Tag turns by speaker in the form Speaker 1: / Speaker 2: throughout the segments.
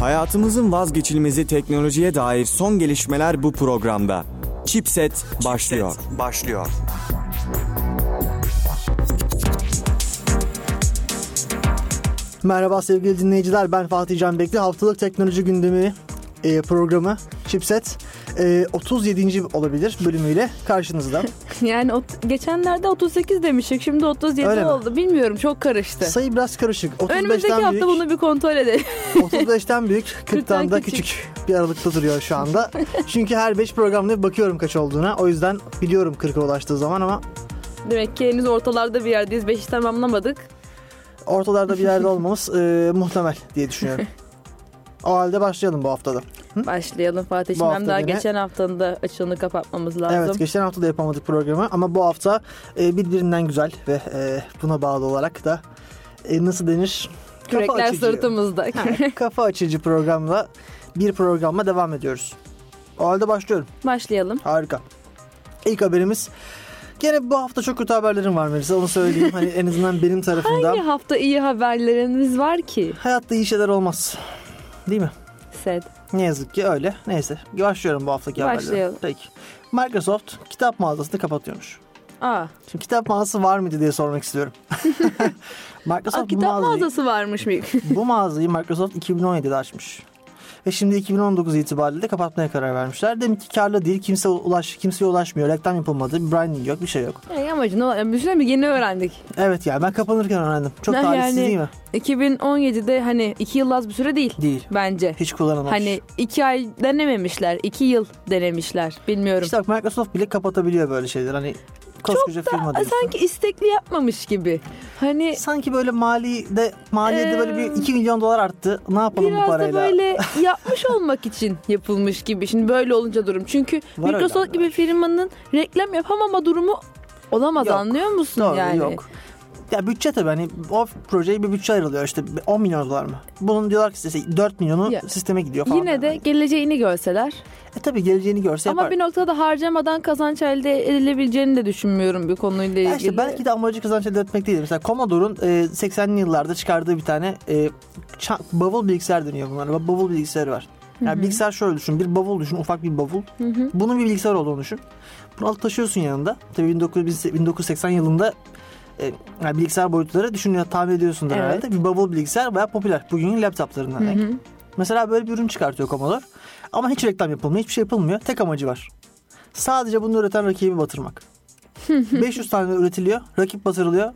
Speaker 1: Hayatımızın vazgeçilmezi teknolojiye dair son gelişmeler bu programda. Chipset başlıyor.
Speaker 2: başlıyor.
Speaker 3: Merhaba sevgili dinleyiciler ben Fatih Can Bekli. Haftalık teknoloji gündemi e, programı Chipset e, 37. olabilir bölümüyle karşınızda.
Speaker 4: Yani ot- geçenlerde 38 demiştik. Şimdi 37
Speaker 3: Öyle mi?
Speaker 4: oldu. Bilmiyorum çok karıştı.
Speaker 3: Sayı biraz karışık. 35'ten
Speaker 4: Önümüzdeki hafta
Speaker 3: büyük,
Speaker 4: bunu bir kontrol edelim.
Speaker 3: 35'ten büyük, 40'tan da
Speaker 4: küçük.
Speaker 3: küçük. bir aralıkta duruyor şu anda. Çünkü her 5 programda bir bakıyorum kaç olduğuna. O yüzden biliyorum 40'a ulaştığı zaman ama
Speaker 4: Demek ki henüz ortalarda bir yerdeyiz. 5'i tamamlamadık.
Speaker 3: ortalarda bir yerde olmamız e, muhtemel diye düşünüyorum. O halde başlayalım bu haftada.
Speaker 4: Başlayalım
Speaker 3: Bu
Speaker 4: Fatih'im.
Speaker 3: hafta
Speaker 4: Hem daha
Speaker 3: yine-
Speaker 4: geçen haftanın da açığını kapatmamız lazım.
Speaker 3: Evet geçen hafta da yapamadık programı ama bu hafta e, birbirinden güzel ve e, buna bağlı olarak da e, nasıl denir? Kafa
Speaker 4: Kürekler
Speaker 3: açıcı.
Speaker 4: sırtımızda.
Speaker 3: Ha, kafa açıcı programla bir programla devam ediyoruz. O halde başlıyorum.
Speaker 4: Başlayalım.
Speaker 3: Harika. İlk haberimiz. Gene bu hafta çok kötü haberlerim var Melisa onu söyleyeyim. hani en azından benim
Speaker 4: Hangi
Speaker 3: tarafımdan.
Speaker 4: hafta iyi haberlerimiz var ki?
Speaker 3: Hayatta iyi şeyler olmaz. Değil mi?
Speaker 4: Sed.
Speaker 3: Ne yazık ki öyle. Neyse başlıyorum bu haftaki haberlere.
Speaker 4: Başlayalım.
Speaker 3: Peki. Microsoft kitap mağazasını kapatıyormuş.
Speaker 4: Aa,
Speaker 3: Şimdi kitap mağazası var mıydı diye sormak istiyorum. Microsoft
Speaker 4: aa,
Speaker 3: bu,
Speaker 4: kitap
Speaker 3: mağazayı,
Speaker 4: mağazası varmış mı?
Speaker 3: bu mağazayı Microsoft 2017'de açmış. Ve şimdi 2019 itibariyle de kapatmaya karar vermişler. Demek ki karlı değil. Kimse ulaş, kimseye ulaşmıyor. Reklam yapılmadı. Bir branding yok. Bir şey yok.
Speaker 4: yani amacı ne olabilir? Bir şey mi? Yeni öğrendik.
Speaker 3: Evet yani ben kapanırken öğrendim. Çok
Speaker 4: Ne
Speaker 3: talihsiz
Speaker 4: yani?
Speaker 3: değil mi?
Speaker 4: 2017'de hani 2 yıl az bir süre değil.
Speaker 3: Değil.
Speaker 4: Bence.
Speaker 3: Hiç kullanılmamış.
Speaker 4: Hani iki ay denememişler, iki yıl denemişler. Bilmiyorum.
Speaker 3: İşte bak Microsoft bile kapatabiliyor böyle şeyler. Hani koskoca firma
Speaker 4: Aa,
Speaker 3: diyorsun.
Speaker 4: sanki istekli yapmamış gibi. Hani
Speaker 3: Sanki böyle mali de maliyede
Speaker 4: Ee,
Speaker 3: böyle bir 2 milyon dolar arttı. Ne yapalım bu
Speaker 4: biraz da
Speaker 3: parayla?
Speaker 4: böyle yapmış olmak için yapılmış gibi. Şimdi böyle olunca durum. Çünkü
Speaker 3: Var öyle
Speaker 4: Microsoft gibi firmanın reklam yapamama durumu olamaz
Speaker 3: Yok.
Speaker 4: anlıyor musun
Speaker 3: Doğru
Speaker 4: yani?
Speaker 3: yok. Ya bütçe tabii hani o projeye bir bütçe ayrılıyor işte 10 milyon dolar mı? Bunun diyorlar ki size 4 milyonu
Speaker 4: Ya,
Speaker 3: sisteme gidiyor falan.
Speaker 4: Yine de
Speaker 3: Yani.
Speaker 4: geleceğini görseler
Speaker 3: E tabii geleceğini görse
Speaker 4: ama
Speaker 3: yapar.
Speaker 4: bir noktada harcamadan kazanç elde edilebileceğini de düşünmüyorum bir konuyla ilgili.
Speaker 3: Ya işte belki de amacı kazanç elde etmek değil. Mesela Commodore'un e, 80'li yıllarda çıkardığı bir tane e, ça- bavul bilgisayar deniyor bunlara. Bavul bilgisayarı var. Yani bilgisayar şöyle düşün. Bir bavul düşün. Ufak bir bavul. Bunun bir bilgisayar olduğunu düşün. Bunu alıp taşıyorsun yanında. Tabii 1900 1980 yılında e, yani bilgisayar boyutları düşünüyor, tahmin ediyorsun
Speaker 4: Evet.
Speaker 3: herhalde. Bir bavul bilgisayar bayağı popüler. Bugünün laptoplarından. yani. Mesela böyle bir ürün çıkartıyor Commodore. Ama hiç reklam yapılmıyor. Hiçbir şey yapılmıyor. Tek amacı var. Sadece bunu üreten rakibi batırmak. 500 tane üretiliyor. Rakip batırılıyor.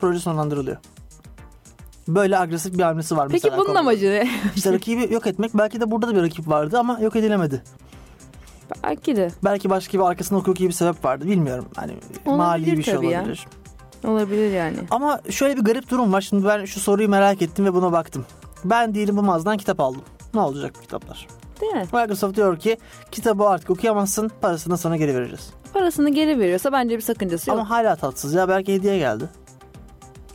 Speaker 3: Proje sonlandırılıyor. Böyle agresif bir hamlesi var
Speaker 4: Peki
Speaker 3: mesela.
Speaker 4: bunun
Speaker 3: Commodore.
Speaker 4: amacı ne?
Speaker 3: İşte rakibi yok etmek. Belki de burada da bir rakip vardı ama yok edilemedi.
Speaker 4: belki de
Speaker 3: Belki başka bir arkasında hukuki bir sebep vardı. Bilmiyorum. Hani mali
Speaker 4: Olabilir
Speaker 3: bir şey
Speaker 4: tabii ya.
Speaker 3: olabilir.
Speaker 4: olabilir yani.
Speaker 3: Ama şöyle bir garip durum var. Şimdi ben şu soruyu merak ettim ve buna baktım. Ben diyelim bu mağazadan kitap aldım. Ne olacak bu kitaplar?
Speaker 4: Değil mi?
Speaker 3: Microsoft diyor ki kitabı artık okuyamazsın parasını da sana geri vereceğiz.
Speaker 4: Parasını geri veriyorsa bence bir sakıncası yok.
Speaker 3: Ama hala tatsız ya belki hediye geldi.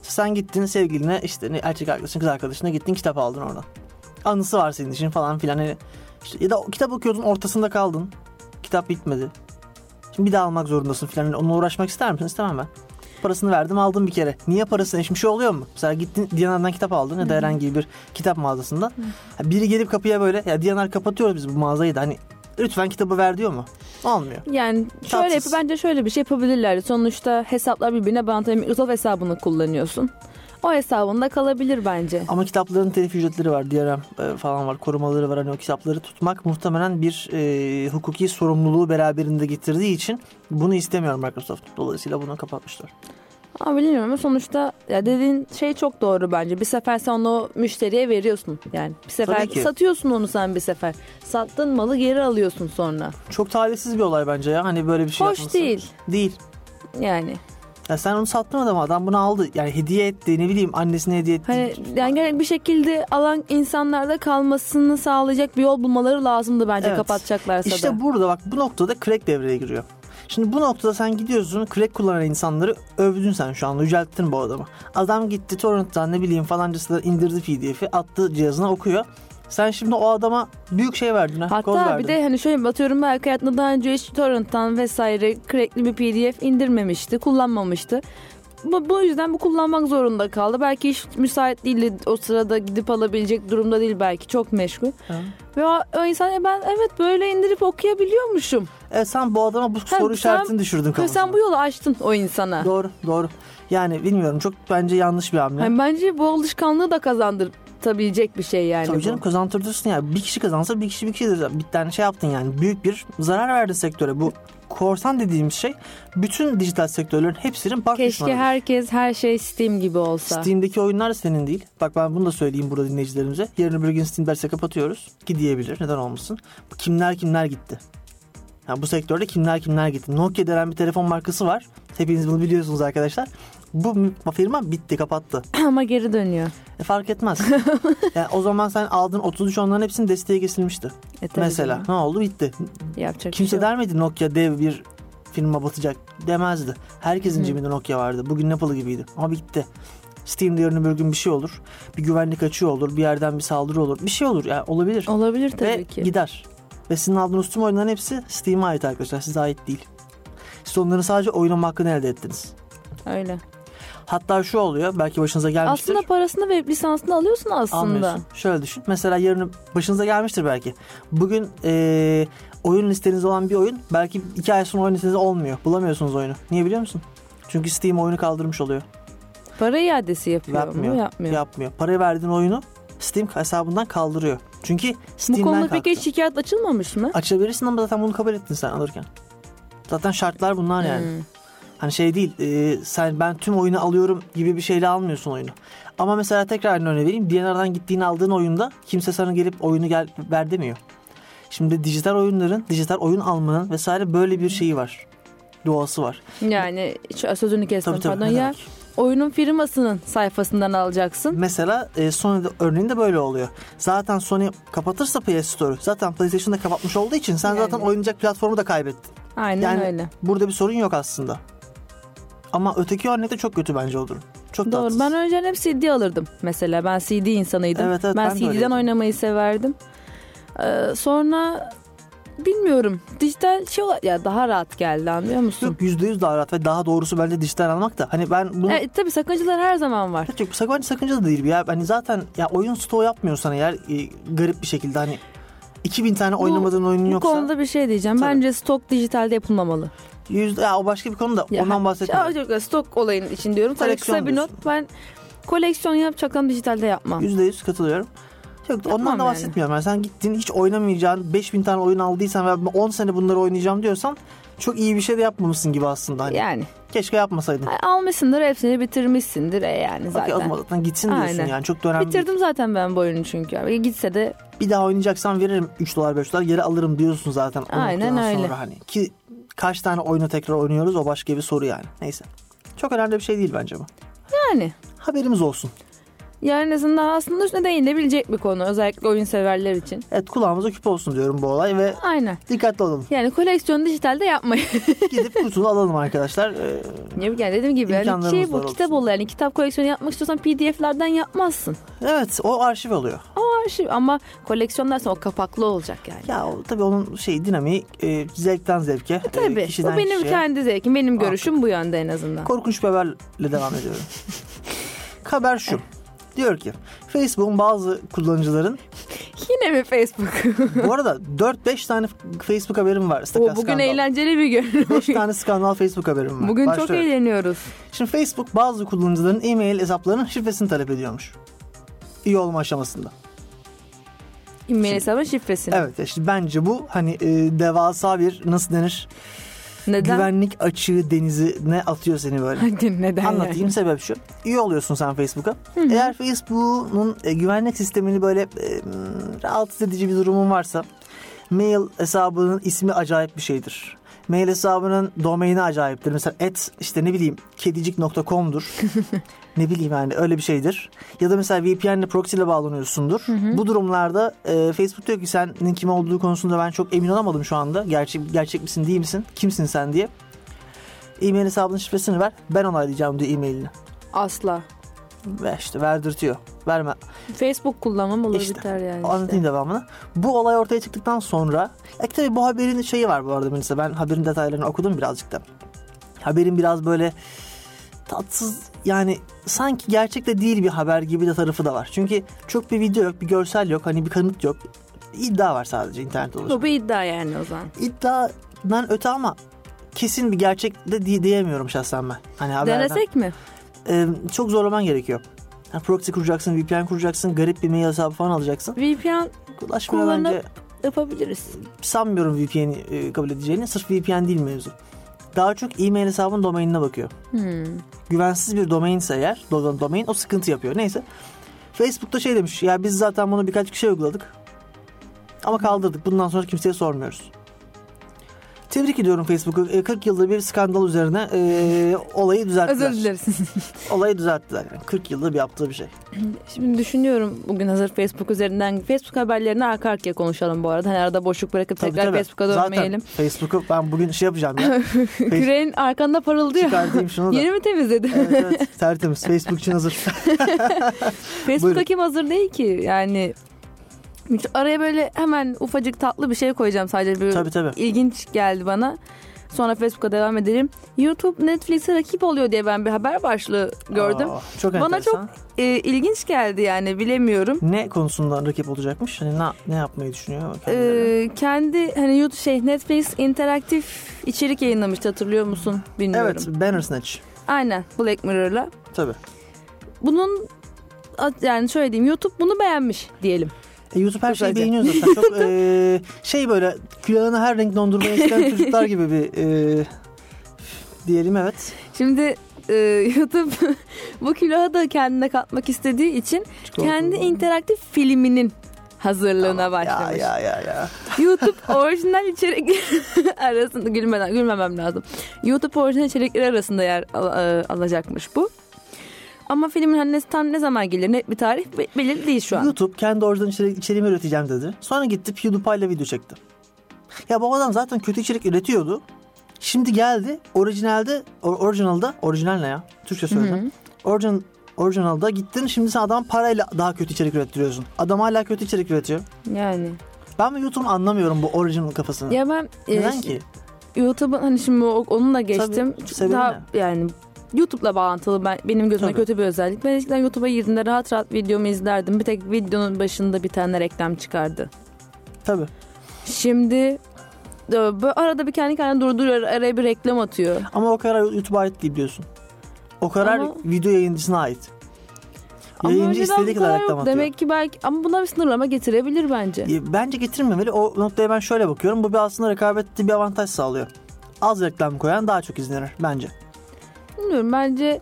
Speaker 3: Sen gittin sevgiline işte ne- erkek arkadaşına kız arkadaşına gittin kitap aldın oradan. Anısı var senin için falan filan. Hani işte, ya da o kitap okuyordun ortasında kaldın. Kitap bitmedi. Şimdi bir daha almak zorundasın filan. Hani onunla uğraşmak ister misin? İstemem ben. Parasını verdim aldım bir kere. Niye parasını? Şimdi şey oluyor mu? Mesela gittin Diyanar'dan kitap aldın ya da herhangi bir kitap mağazasından. Ha, Biri gelip kapıya böyle ya Diyanar kapatıyoruz biz bu mağazayı da hani lütfen kitabı ver diyor mu? Olmuyor.
Speaker 4: Yani şöyle
Speaker 3: Tatsız.
Speaker 4: yap- bence şöyle bir şey yapabilirler. Sonuçta hesaplar birbirine bağlı. Microsoft hesabını kullanıyorsun. O hesabında kalabilir bence.
Speaker 3: Ama kitapların telif ücretleri var, DRM e, falan var, korumaları var. Hani o kitapları tutmak muhtemelen bir e, hukuki sorumluluğu beraberinde getirdiği için bunu istemiyor Microsoft. Dolayısıyla bunu kapatmışlar.
Speaker 4: Ama bilmiyorum ama sonuçta ya dediğin şey çok doğru bence. Bir sefer sen onu müşteriye veriyorsun. Yani bir sefer
Speaker 3: Tabii ki.
Speaker 4: satıyorsun onu sen bir sefer. Sattığın malı geri alıyorsun sonra.
Speaker 3: Çok talihsiz bir olay bence ya. Hani böyle bir şey
Speaker 4: Hoş
Speaker 3: yapması.
Speaker 4: değil.
Speaker 3: Değil.
Speaker 4: Yani
Speaker 3: Ya sen onu sattın adama. Adam bunu aldı. Yani hediye etti. Ne bileyim annesine hediye etti.
Speaker 4: hani yani gerek bir şekilde alan insanlarda kalmasını sağlayacak bir yol bulmaları lazımdı bence
Speaker 3: Evet.
Speaker 4: kapatacaklarsa da.
Speaker 3: İşte burada bak bu noktada crack devreye giriyor. Şimdi bu noktada sen gidiyorsun crack kullanan insanları övdün sen şu anda yücelttin bu adamı. Adam gitti torrent'tan ne bileyim falancasından indirdi pdf'i attı cihazına okuyor. Sen şimdi o adama büyük şey verdin ha. koz
Speaker 4: Hatta
Speaker 3: verdin.
Speaker 4: bir de hani şöyle batıyorum belki hayatında daha önce hiç torrent'tan vesaire crackli bir pdf indirmemişti, kullanmamıştı. bu, bu yüzden bu kullanmak zorunda kaldı. Belki hiç müsait değildi o sırada gidip alabilecek durumda değil belki çok meşgul.
Speaker 3: Ha.
Speaker 4: Ve o, o insan "E ben evet böyle indirip okuyabiliyormuşum.
Speaker 3: Evet E, sen bu adama bu soru
Speaker 4: sen-
Speaker 3: işaretini düşürdün
Speaker 4: Ve
Speaker 3: kafasına.
Speaker 4: sen bu yolu açtın o insana.
Speaker 3: Doğru doğru. Yani bilmiyorum çok bence yanlış bir hamle.
Speaker 4: Hani bence bu alışkanlığı da kazandırabilecek bir şey yani.
Speaker 3: Tabii
Speaker 4: bu.
Speaker 3: E, canım kazandırırsın ya. Bir kişi kazansa bir kişi bir kişidir. Bir tane şey yaptın yani. Büyük bir zarar verdin sektöre. Bu korsan dediğimiz şey bütün dijital sektörlerin hepsinin baş
Speaker 4: Keşke
Speaker 3: düşmanıdır.
Speaker 4: herkes her şey Steam gibi olsa.
Speaker 3: Steam'deki oyunlar senin değil. Bak ben bunu da söyleyeyim burada dinleyicilerimize. Yarın öbür gün Steam derse kapatıyoruz. Gidebilir. Neden olmasın? Kimler kimler gitti? Ha, bu sektörde kimler kimler gitti? Nokia denen bir telefon markası var. Hepiniz bunu biliyorsunuz arkadaşlar. Bu firma bitti, kapattı.
Speaker 4: Ama geri dönüyor.
Speaker 3: E, fark etmez. yani o zaman sen aldığın 33 onların hepsinin desteği kesilmişti.
Speaker 4: E tabii
Speaker 3: Mesela
Speaker 4: canım.
Speaker 3: ne oldu? Bitti.
Speaker 4: Yapacak bir
Speaker 3: Kimse
Speaker 4: şey yok.
Speaker 3: der miydi Nokia dev bir firma batacak demezdi. Herkesin cebinde Nokia vardı. Bugün Apple gibiydi. Ama bitti. Steam'de yarın öbür gün bir şey olur. Bir güvenlik açığı olur. Bir yerden bir saldırı olur. Bir şey olur. Yani olabilir.
Speaker 4: Olabilir
Speaker 3: Ve
Speaker 4: tabii ki.
Speaker 3: gider. Ve sizin aldığınız tüm oyunların hepsi Steam'e ait arkadaşlar. Size ait değil. Siz onların sadece oynama hakkını elde ettiniz.
Speaker 4: Öyle.
Speaker 3: Hatta şu oluyor. Belki başınıza gelmiştir.
Speaker 4: Aslında parasını ve lisansını alıyorsun aslında.
Speaker 3: Anlıyorsun. Şöyle düşün. Mesela yarın başınıza gelmiştir belki. Bugün eee, oyun listenizde olan bir oyun belki iki ay sonra oyun listenizde olmuyor. Bulamıyorsunuz oyunu. Niye biliyor musun? Çünkü Steam oyunu kaldırmış oluyor.
Speaker 4: Para iadesi yapıyor
Speaker 3: Yapmıyor.
Speaker 4: mu? Yapmıyor.
Speaker 3: Yapmıyor. Para verdiğin oyunu Steam hesabından kaldırıyor. Çünkü
Speaker 4: Bu
Speaker 3: Steam'den
Speaker 4: konuda
Speaker 3: kalktı.
Speaker 4: peki şikayet açılmamış mı?
Speaker 3: Açabilirsin ama zaten bunu kabul ettin sen alırken. Zaten şartlar bunlar yani.
Speaker 4: Hmm.
Speaker 3: Hani şey değil e, sen ben tüm oyunu alıyorum gibi bir şeyle almıyorsun oyunu. Ama mesela tekrar aynı örneği vereyim. DNR'dan gittiğin aldığın oyunda kimse sana gelip oyunu gel, ver demiyor. Şimdi dijital oyunların, dijital oyun almanın vesaire böyle bir şeyi var. Doğası var.
Speaker 4: Hmm. Yani şu- sözünü kestim
Speaker 3: Tabii tabii.
Speaker 4: pardon
Speaker 3: ne
Speaker 4: ya.
Speaker 3: demek?
Speaker 4: Oyunun firmasının sayfasından alacaksın.
Speaker 3: Mesela e, Sony'de örneğinde böyle oluyor. Zaten Sony kapatırsa PS Store'u zaten PlayStation'da kapatmış olduğu için sen
Speaker 4: Yani.
Speaker 3: zaten oynayacak platformu da kaybettin.
Speaker 4: Aynen
Speaker 3: Yani
Speaker 4: öyle.
Speaker 3: burada bir sorun yok aslında. Ama öteki örnekte çok kötü bence o durum. Çok
Speaker 4: Doğru.
Speaker 3: tatsız.
Speaker 4: Ben önceden hep CD alırdım mesela. Ben CD insanıydım.
Speaker 3: Evet, evet,
Speaker 4: ben,
Speaker 3: ben de
Speaker 4: CD'den
Speaker 3: öyleydim.
Speaker 4: oynamayı severdim. Ee, sonra bilmiyorum. Dijital şey olarak ya daha rahat geldi anlıyor musun?
Speaker 3: Yok %100 daha rahat ve daha doğrusu bence dijital almak da. Hani ben bunu...
Speaker 4: E, tabii sakıncalar her zaman var.
Speaker 3: Yok, sakın, sakınca da değil ya. Hani zaten ya oyun stoğu yapmıyorsan eğer e, garip bir şekilde hani 2000 tane oynamadığın oyunun
Speaker 4: Bu
Speaker 3: yoksa
Speaker 4: konuda bir şey diyeceğim.
Speaker 3: Tabii.
Speaker 4: Bence stok dijitalde yapılmamamalı.
Speaker 3: yüzde, ya o başka bir konu da
Speaker 4: Ya,
Speaker 3: ondan bahsetmiyorum.
Speaker 4: Ya, yok, stok olayın için diyorum. Sana
Speaker 3: Koleksiyon
Speaker 4: kısa bir not.
Speaker 3: diyorsun.
Speaker 4: Ben koleksiyon yapacaksam dijitalde yapmam.
Speaker 3: %100 katılıyorum. Yok ondan
Speaker 4: Yapmam
Speaker 3: da
Speaker 4: yani.
Speaker 3: bahsetmiyorum. Yani sen gittin hiç oynamayacağın 5000 tane oyun aldıysan ve ben 10 sene bunları oynayacağım diyorsan çok iyi bir şey de yapmamışsın gibi aslında. Hani.
Speaker 4: Yani
Speaker 3: Keşke yapmasaydın.
Speaker 4: ay, almışsındır hepsini bitirmişsindir e yani
Speaker 3: Okey,
Speaker 4: zaten.
Speaker 3: o zaman zaten gitsin diyorsun
Speaker 4: Aynen.
Speaker 3: yani çok da önemli değil.
Speaker 4: Bitirdim zaten ben bu oyunu çünkü. abi. E, Gitse de
Speaker 3: bir daha oynayacaksan veririm 3 dolar 5 dolar geri alırım diyorsun zaten. o
Speaker 4: Aynen
Speaker 3: noktadan
Speaker 4: öyle.
Speaker 3: Sonra hani ki kaç tane oyunu tekrar oynuyoruz o başka bir soru yani. Neyse. Çok önemli bir şey değil bence bu.
Speaker 4: yani.
Speaker 3: Haberimiz olsun.
Speaker 4: Yani aslında aslında üstüne değinebilecek bir konu. Özellikle oyun severler için.
Speaker 3: Evet kulağımıza küp olsun diyorum bu olay ve
Speaker 4: Aynen.
Speaker 3: dikkatli olalım.
Speaker 4: Yani koleksiyonu dijitalde yapmayın.
Speaker 3: Gidip kutunu alalım arkadaşlar. Ee,
Speaker 4: yani dediğim gibi yani
Speaker 3: İmkanlarımız
Speaker 4: şey bu
Speaker 3: var olsun.
Speaker 4: kitap oluyor. Yani kitap koleksiyonu yapmak istiyorsan pdf'lerden yapmazsın.
Speaker 3: evet o arşiv oluyor.
Speaker 4: Ama, şey, ama koleksiyon dersen o kapaklı olacak yani.
Speaker 3: Ya o, tabii onun şey dinamiği e, zevkten zevke. e,
Speaker 4: Tabii.
Speaker 3: kişiden
Speaker 4: bu benim
Speaker 3: kişiye.
Speaker 4: kendi zevkim. Benim görüşüm bu yönde en azından.
Speaker 3: Korkunç bir haberle devam ediyorum. Haber şu. Diyor ki Facebook'un bazı kullanıcıların
Speaker 4: Yine mi Facebook?
Speaker 3: Bu arada 4-5 tane Facebook haberim var.
Speaker 4: o
Speaker 3: Stakas
Speaker 4: bugün
Speaker 3: skandal.
Speaker 4: eğlenceli bir gün.
Speaker 3: 5 tane skandal Facebook haberim var.
Speaker 4: bugün çok
Speaker 3: Başlıyorum.
Speaker 4: eğleniyoruz.
Speaker 3: Şimdi Facebook bazı kullanıcıların e-mail hesaplarının şifresini talep ediyormuş. İyi olma aşamasında.
Speaker 4: E-mail hesabın şifresini.
Speaker 3: Evet işte bence bu hani e, devasa bir nasıl denir
Speaker 4: Neden?
Speaker 3: güvenlik açığı denizine atıyor seni böyle.
Speaker 4: Hadi neden
Speaker 3: Anlatayım
Speaker 4: yani?
Speaker 3: sebep şu. Üye oluyorsun sen Facebook'a. Eğer Facebook'un e, güvenlik sistemini böyle e, m, rahatsız edici bir durumun varsa mail hesabının ismi acayip bir şeydir. Mail hesabının domaini acayiptir. Mesela et işte ne bileyim kedicik.com'dur. ne bileyim yani öyle bir şeydir. Ya da mesela VPN ile proxy ile bağlanıyorsundur. Bu durumlarda e, Facebook diyor ki senin kim olduğu konusunda ben çok emin olamadım şu anda. Gerçek, gerçek misin değil misin? Kimsin sen diye. E-mail hesabının şifresini ver. Ben onaylayacağım diyor e-mailini.
Speaker 4: Asla.
Speaker 3: Ve işte verdirtiyor. Verme.
Speaker 4: Facebook kullanmam olur
Speaker 3: İşte.
Speaker 4: biter yani. işte.
Speaker 3: Anlatayım devamını. Bu olay ortaya çıktıktan sonra... E tabii bu haberin şeyi var bu arada Melisa. Ben haberin detaylarını okudum birazcık da. Haberin biraz böyle tatsız yani sanki gerçekte değil bir haber gibi de tarafı da var. Çünkü çok bir video yok, bir görsel yok, hani bir kanıt yok. İddia var sadece internet oluşan.
Speaker 4: Bu bir iddia yani o zaman.
Speaker 3: İddiadan öte ama kesin bir gerçek de diye- diyemiyorum şahsen ben. Hani haberden.
Speaker 4: Denesek mi?
Speaker 3: Ee, çok zorlaman gerekiyor. Yani proxy kuracaksın, VPN kuracaksın, garip bir mail hesabı falan alacaksın.
Speaker 4: VPN
Speaker 3: Ulaşmaya
Speaker 4: Kullanıp-
Speaker 3: bence
Speaker 4: yapabiliriz.
Speaker 3: sanmıyorum VPN'i e, kabul edeceğini. Sırf VPN değil mevzu. Daha çok e-mail hesabın domainine bakıyor.
Speaker 4: Hmm.
Speaker 3: Güvensiz bir domainse eğer, do- domain o sıkıntı yapıyor. Neyse. Facebook'ta şey demiş. Ya biz zaten bunu birkaç kişiye uyguladık. Ama kaldırdık. Bundan sonra kimseye sormuyoruz. Tebrik ediyorum Facebook'u. E, 40 yılda bir skandal üzerine e, olayı düzelttiler.
Speaker 4: Özür dileriz.
Speaker 3: Olayı düzelttiler. Yani 40 yılda bir yaptığı bir şey.
Speaker 4: Şimdi düşünüyorum bugün hazır Facebook üzerinden Facebook haberlerini arka arkaya konuşalım bu arada. Hani arada boşluk bırakıp
Speaker 3: Tabii,
Speaker 4: tekrar
Speaker 3: tabii.
Speaker 4: Facebook'a dönmeyelim.
Speaker 3: Zaten Facebook'u ben bugün şey yapacağım ya.
Speaker 4: Küreğin arkanda parıldıyor.
Speaker 3: Çıkartayım şunu da.
Speaker 4: Yeri mi temizledi?
Speaker 3: evet, evet, tertemiz. Facebook için hazır.
Speaker 4: Facebook'a
Speaker 3: Buyurun.
Speaker 4: kim hazır değil ki yani. Şu Araya böyle hemen ufacık tatlı bir şey koyacağım sadece bir
Speaker 3: tabii tabii.
Speaker 4: ilginç geldi bana. Sonra Facebook'a devam edelim. YouTube Netflix'e rakip oluyor diye ben bir haber başlığı gördüm.
Speaker 3: Aa, çok
Speaker 4: Bana
Speaker 3: enteresan.
Speaker 4: Ee, ilginç geldi yani bilemiyorum.
Speaker 3: Ne konusundan rakip olacakmış? Hani ne, ne yapmayı düşünüyor? kendileri?
Speaker 4: Ee, kendi hani YouTube şey Netflix interaktif içerik yayınlamıştı hatırlıyor musun bilmiyorum.
Speaker 3: evet, Bandersnatch.
Speaker 4: Aynen Black Mirror'la.
Speaker 3: Tabii.
Speaker 4: Bunun yani şöyle diyeyim YouTube bunu beğenmiş diyelim.
Speaker 3: E, YouTube her şeyi
Speaker 4: Güzelce.
Speaker 3: beğeniyor zaten. Çok e, şey böyle külahına her renk dondurma isteyen çocuklar gibi bir e, diyelim evet.
Speaker 4: Şimdi e, YouTube bu külahı da kendine katmak istediği için kendi interaktif filminin hazırlığına
Speaker 3: ya
Speaker 4: başlamış.
Speaker 3: ya ya ya.
Speaker 4: YouTube orijinal içerikler arasında gülmeden gülmemem lazım. YouTube orijinal içerikler arasında yer al- e, alacakmış bu. Ama filmin hani tam ne zaman gelir net bir tarih be- belirli değil şu an.
Speaker 3: YouTube kendi oradan içerik, içeriğimi üreteceğim dedi. Sonra gitti PewDiePie'la video çekti. Ya bu adam zaten kötü içerik üretiyordu. Şimdi geldi orijinalde, or, orijinalda, orijinal ne ya? Türkçe söyledim. Orijin, orijinalda gittin şimdi sen adam parayla daha kötü içerik ürettiriyorsun. Adam hala kötü içerik üretiyor.
Speaker 4: Yani.
Speaker 3: Ben bu YouTube'un anlamıyorum bu orijinal kafasını.
Speaker 4: Ya ben e,
Speaker 3: Neden ki?
Speaker 4: YouTube'un hani şimdi o- onunla geçtim.
Speaker 3: Tabii,
Speaker 4: Çok
Speaker 3: sebebi
Speaker 4: daha yani YouTube'la bağlantılı ben, benim gözüme
Speaker 3: Tabii.
Speaker 4: kötü bir özellik. Ben eskiden YouTube'a girdiğimde rahat rahat videomu izlerdim. Bir tek videonun başında bir tane reklam çıkardı.
Speaker 3: Tabii.
Speaker 4: Şimdi e, böyle arada bir kendi kendine durduruyor araya bir reklam atıyor.
Speaker 3: Ama o karar YouTube'a ait değil biliyorsun. O karar
Speaker 4: Ama-
Speaker 3: video yayıncısına ait.
Speaker 4: Ama
Speaker 3: Yayıncı
Speaker 4: önceden
Speaker 3: istediği
Speaker 4: bu
Speaker 3: kadar
Speaker 4: kadar
Speaker 3: reklam
Speaker 4: yok.
Speaker 3: atıyor.
Speaker 4: Demek ki belki ama buna bir sınırlama getirebilir bence.
Speaker 3: E, Bence getirmemeli. O noktaya ben şöyle bakıyorum. Bu bir aslında rekabette bir avantaj sağlıyor. Az reklam koyan daha çok izlenir bence.
Speaker 4: Bilmiyorum bence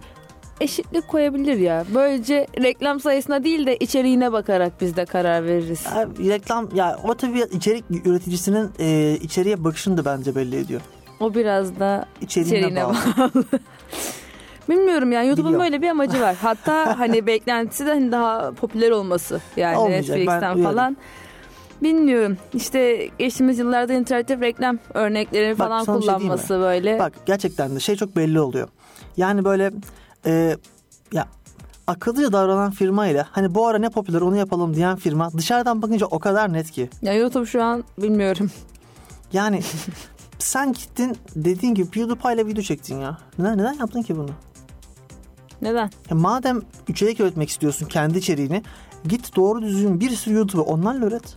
Speaker 4: eşitlik koyabilir ya. Böylece reklam sayısına değil de içeriğine bakarak biz de karar veririz.
Speaker 3: Ha, reklam ya o tabii içerik üreticisinin e, içeriye bakışını da bence belli ediyor.
Speaker 4: O biraz da
Speaker 3: İçeriğine,
Speaker 4: İçeriğine
Speaker 3: bağlı.
Speaker 4: bilmiyorum yani YouTube'un
Speaker 3: Biliyorum.
Speaker 4: böyle bir amacı var. Hatta hani beklentisi de hani daha popüler olması yani
Speaker 3: Olmayacak, ben
Speaker 4: Netflix'ten
Speaker 3: uyarım.
Speaker 4: falan. Bilmiyorum. İşte geçtiğimiz yıllarda interaktif reklam örnekleri
Speaker 3: Bak,
Speaker 4: falan
Speaker 3: sana bir şey diyeyim mi?
Speaker 4: kullanması böyle.
Speaker 3: Bak gerçekten de şey çok belli oluyor. Yani böyle e, ya akıllıca davranan firma ile hani bu ara ne popüler onu yapalım diyen firma dışarıdan bakınca o kadar net ki.
Speaker 4: Ya YouTube şu an bilmiyorum.
Speaker 3: Yani sen gittin dediğin gibi PewDiePie ile video çektin ya. Neden, neden yaptın ki bunu?
Speaker 4: Neden?
Speaker 3: Ya madem içerik üretmek istiyorsun kendi içeriğini git doğru düzgün bir sürü YouTube'u onlarla üret.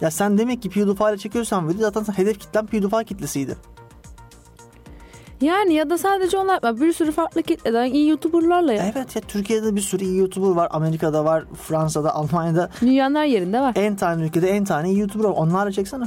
Speaker 3: Ya sen demek ki PewDiePie ile çekiyorsan video zaten sen- hedef kitlen PewDiePie kitlesiydi.
Speaker 4: Yani ya da sadece onlar yapma. Bir sürü farklı kitleden iyi YouTuber'larla ya.
Speaker 3: Evet ya Türkiye'de bir sürü iyi YouTuber var. Amerika'da var, Fransa'da, Almanya'da.
Speaker 4: Dünyanın her yerinde var.
Speaker 3: En tane ülkede en tane iyi YouTuber var. Onlarla çeksene.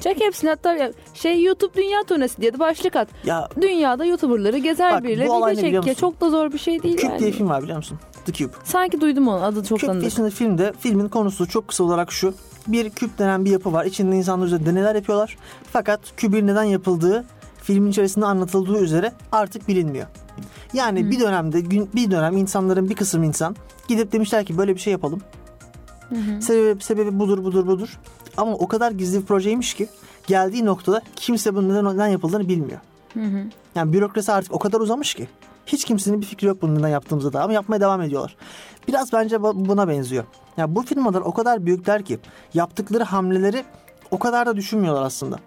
Speaker 4: Çek hepsini hatta ya- şey YouTube Dünya Turnesi diye de başlık at.
Speaker 3: Ya
Speaker 4: Dünyada YouTuber'ları gezer
Speaker 3: Bak,
Speaker 4: biriyle
Speaker 3: bu olay
Speaker 4: video
Speaker 3: ne biliyor
Speaker 4: çek ya.
Speaker 3: musun?
Speaker 4: Çok da zor bir şey değil
Speaker 3: Cube
Speaker 4: yani.
Speaker 3: diye film var biliyor musun? The Cube.
Speaker 4: Sanki duydum onu adı çok
Speaker 3: Küp
Speaker 4: tanıdık.
Speaker 3: isimli filmde filmin konusu çok kısa olarak şu. Bir küp denen bir yapı var. İçinde insanlar üzerinde deneler yapıyorlar. Fakat kübün neden yapıldığı filmin içerisinde anlatıldığı üzere artık bilinmiyor. Yani bir dönemde gün- bir dönem insanların bir kısım insan gidip demişler ki böyle bir şey yapalım. Sebebi, sebebi budur budur budur. Ama o kadar gizli bir projeymiş ki geldiği noktada kimse bunun neden, neden yapıldığını bilmiyor. Yani bürokrasi artık o kadar uzamış ki. Hiç kimsenin bir fikri yok bunun neden yaptığımızda da ama yapmaya devam ediyorlar. Biraz bence bu- buna benziyor. Ya bu firmalar o kadar büyükler ki yaptıkları hamleleri o kadar hani da düşünmüyorlar aslında.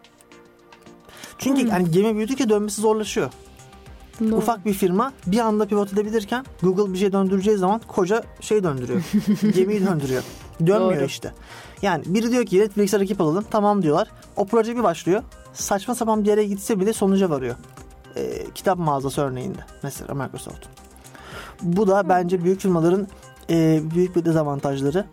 Speaker 3: Çünkü yani gemi büyüdükçe dönmesi zorlaşıyor.
Speaker 4: Doğru.
Speaker 3: Ufak bir firma bir anda pivot edebilirken Google bir şey döndüreceği zaman koca şey döndürüyor. gemiyi döndürüyor. Dönmüyor
Speaker 4: Doğru.
Speaker 3: işte. Yani biri diyor ki Netflix'e rakip alalım. Tamam diyorlar. O proje bir başlıyor. Saçma sapan bir yere gitse bile sonuca varıyor. Ee, kitap mağazası örneğinde. Mesela Microsoft. Bu da bence büyük firmaların e, büyük bir dezavantajları.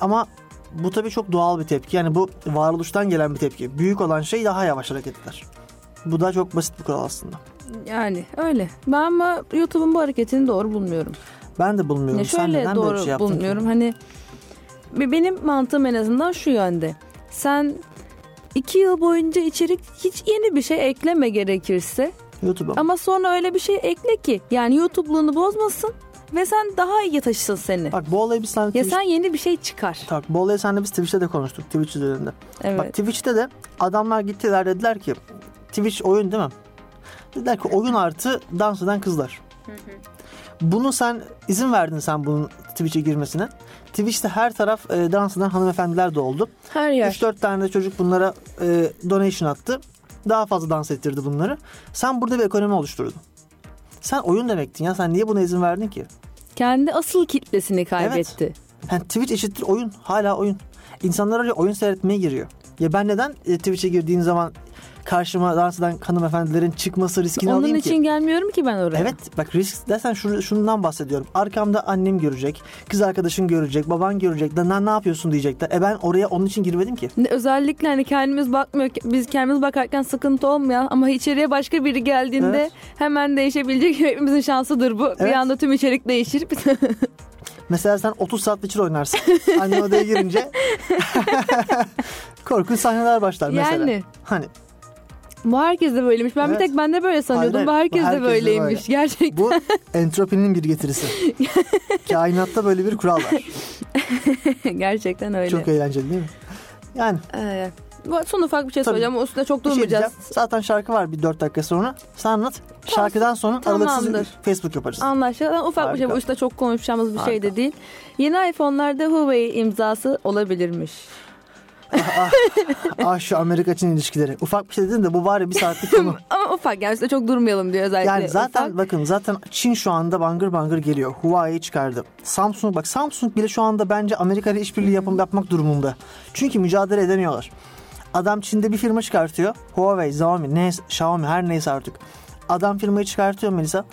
Speaker 3: Ama bu tabii çok doğal bir tepki. Yani bu varoluştan gelen bir tepki. Büyük olan şey daha yavaş hareket eder. Bu da çok basit bir kural aslında.
Speaker 4: Yani öyle. Ben ama YouTube'un bu hareketini doğru bulmuyorum.
Speaker 3: Ben de bulmuyorum.
Speaker 4: Ya
Speaker 3: Sen
Speaker 4: şöyle
Speaker 3: neden
Speaker 4: doğru
Speaker 3: böyle bir şey yaptın ki?
Speaker 4: bulmuyorum. Hani be- benim mantığım en azından şu yönde. Sen iki yıl boyunca içerik hiç yeni bir şey ekleme gerekirse
Speaker 3: YouTube'a.
Speaker 4: ama sonra öyle bir şey ekle ki yani YouTube'luğunu bozmasın ve sen daha iyi taşısın seni.
Speaker 3: Bak bu olayı biz sen
Speaker 4: ya
Speaker 3: Twitch...
Speaker 4: sen yeni bir şey çıkar.
Speaker 3: Tak, bu olayı senle biz Twitch'te de konuştuk. Twitch üzerinde. Bak
Speaker 4: Evet.
Speaker 3: Twitch'te de adamlar gittiler dediler ki Twitch oyun değil mi? Dediler ki oyun artı dans eden kızlar. Bunu sen izin verdin sen bunun Twitch'e girmesine. Twitch'te her taraf e, dans eden hanımefendiler de oldu.
Speaker 4: Her yer.
Speaker 3: 3-4 tane de çocuk bunlara e, donation attı. Daha fazla dans ettirdi bunları. Sen burada bir ekonomi oluşturdun. Sen oyun demektin ya. Sen niye buna izin verdin ki?
Speaker 4: Kendi asıl kitlesini kaybetti.
Speaker 3: Yani Twitch eşittir oyun. Hala oyun. İnsanlar öyle oyun seyretmeye giriyor. Ya ben neden e, Twitch'e girdiğim zaman karşıma dans eden hanımefendilerin çıkması riskini
Speaker 4: Onun
Speaker 3: alayım
Speaker 4: için
Speaker 3: ki?
Speaker 4: gelmiyorum ki ben oraya.
Speaker 3: Evet bak risk dersen şunu, şundan bahsediyorum. Arkamda annem görecek, kız arkadaşın görecek, baban görecek. Lan ne yapıyorsun diyecekler. E ben oraya onun için girmedim ki.
Speaker 4: Ne- Özellikle hani kendimiz bakmıyor, biz kendimiz bakarken sıkıntı olmayan ama içeriye başka biri geldiğinde
Speaker 3: Evet.
Speaker 4: hemen değişebilecek hepimizin şansıdır bu. Bir
Speaker 3: Evet.
Speaker 4: anda tüm içerik değişir.
Speaker 3: Mesela sen 30 saat Witcher oynarsın. Annen odaya girince korkunç sahneler başlar mesela.
Speaker 4: yani
Speaker 3: Hani
Speaker 4: bu herkes de böyleymiş. Ben
Speaker 3: Evet.
Speaker 4: bir tek ben de böyle sanıyordum.
Speaker 3: Hayır,
Speaker 4: bu herkes,
Speaker 3: bu herkes
Speaker 4: de
Speaker 3: de
Speaker 4: böyleymiş. Gerçek.
Speaker 3: bu entropinin bir getirisi. Kainatta böyle bir kural var.
Speaker 4: Gerçekten öyle.
Speaker 3: Çok eğlenceli değil mi? Yani
Speaker 4: Ee, bu- son ufak bir şey
Speaker 3: Tabii.
Speaker 4: söyleyeceğim. ama Üstüne çok
Speaker 3: bir şey
Speaker 4: durmayacağız.
Speaker 3: diyeceğim. Zaten şarkı var bir 4 dakika sonra. Sen anlat. Şarkıdan sonra
Speaker 4: Tamamdır.
Speaker 3: aralıksız Facebook yaparız.
Speaker 4: Anlaşılan ufak bir şey.
Speaker 3: Harika.
Speaker 4: Bu üstüne çok konuşacağımız bir şey de
Speaker 3: Harika.
Speaker 4: değil. Yeni iPhone'larda Huawei imzası olabilirmiş.
Speaker 3: ah şu Amerika Çin ilişkileri. Ufak bir şey dedin de bu bari bir saatlik konu.
Speaker 4: Ama ufak yani üstüne çok durmayalım diyor özellikle.
Speaker 3: Yani zaten
Speaker 4: Ufak.
Speaker 3: bakın zaten Çin şu anda bangır bangır geliyor. Huawei çıkardı. Samsung bak Samsung bile şu anda bence Amerika ile işbirliği yapım yapmak durumunda. Çünkü mücadele edemiyorlar. Adam Çin'de bir firma çıkartıyor. Huawei, Xiaomi, neyse, Xiaomi her neyse artık. Adam firmayı çıkartıyor Melisa.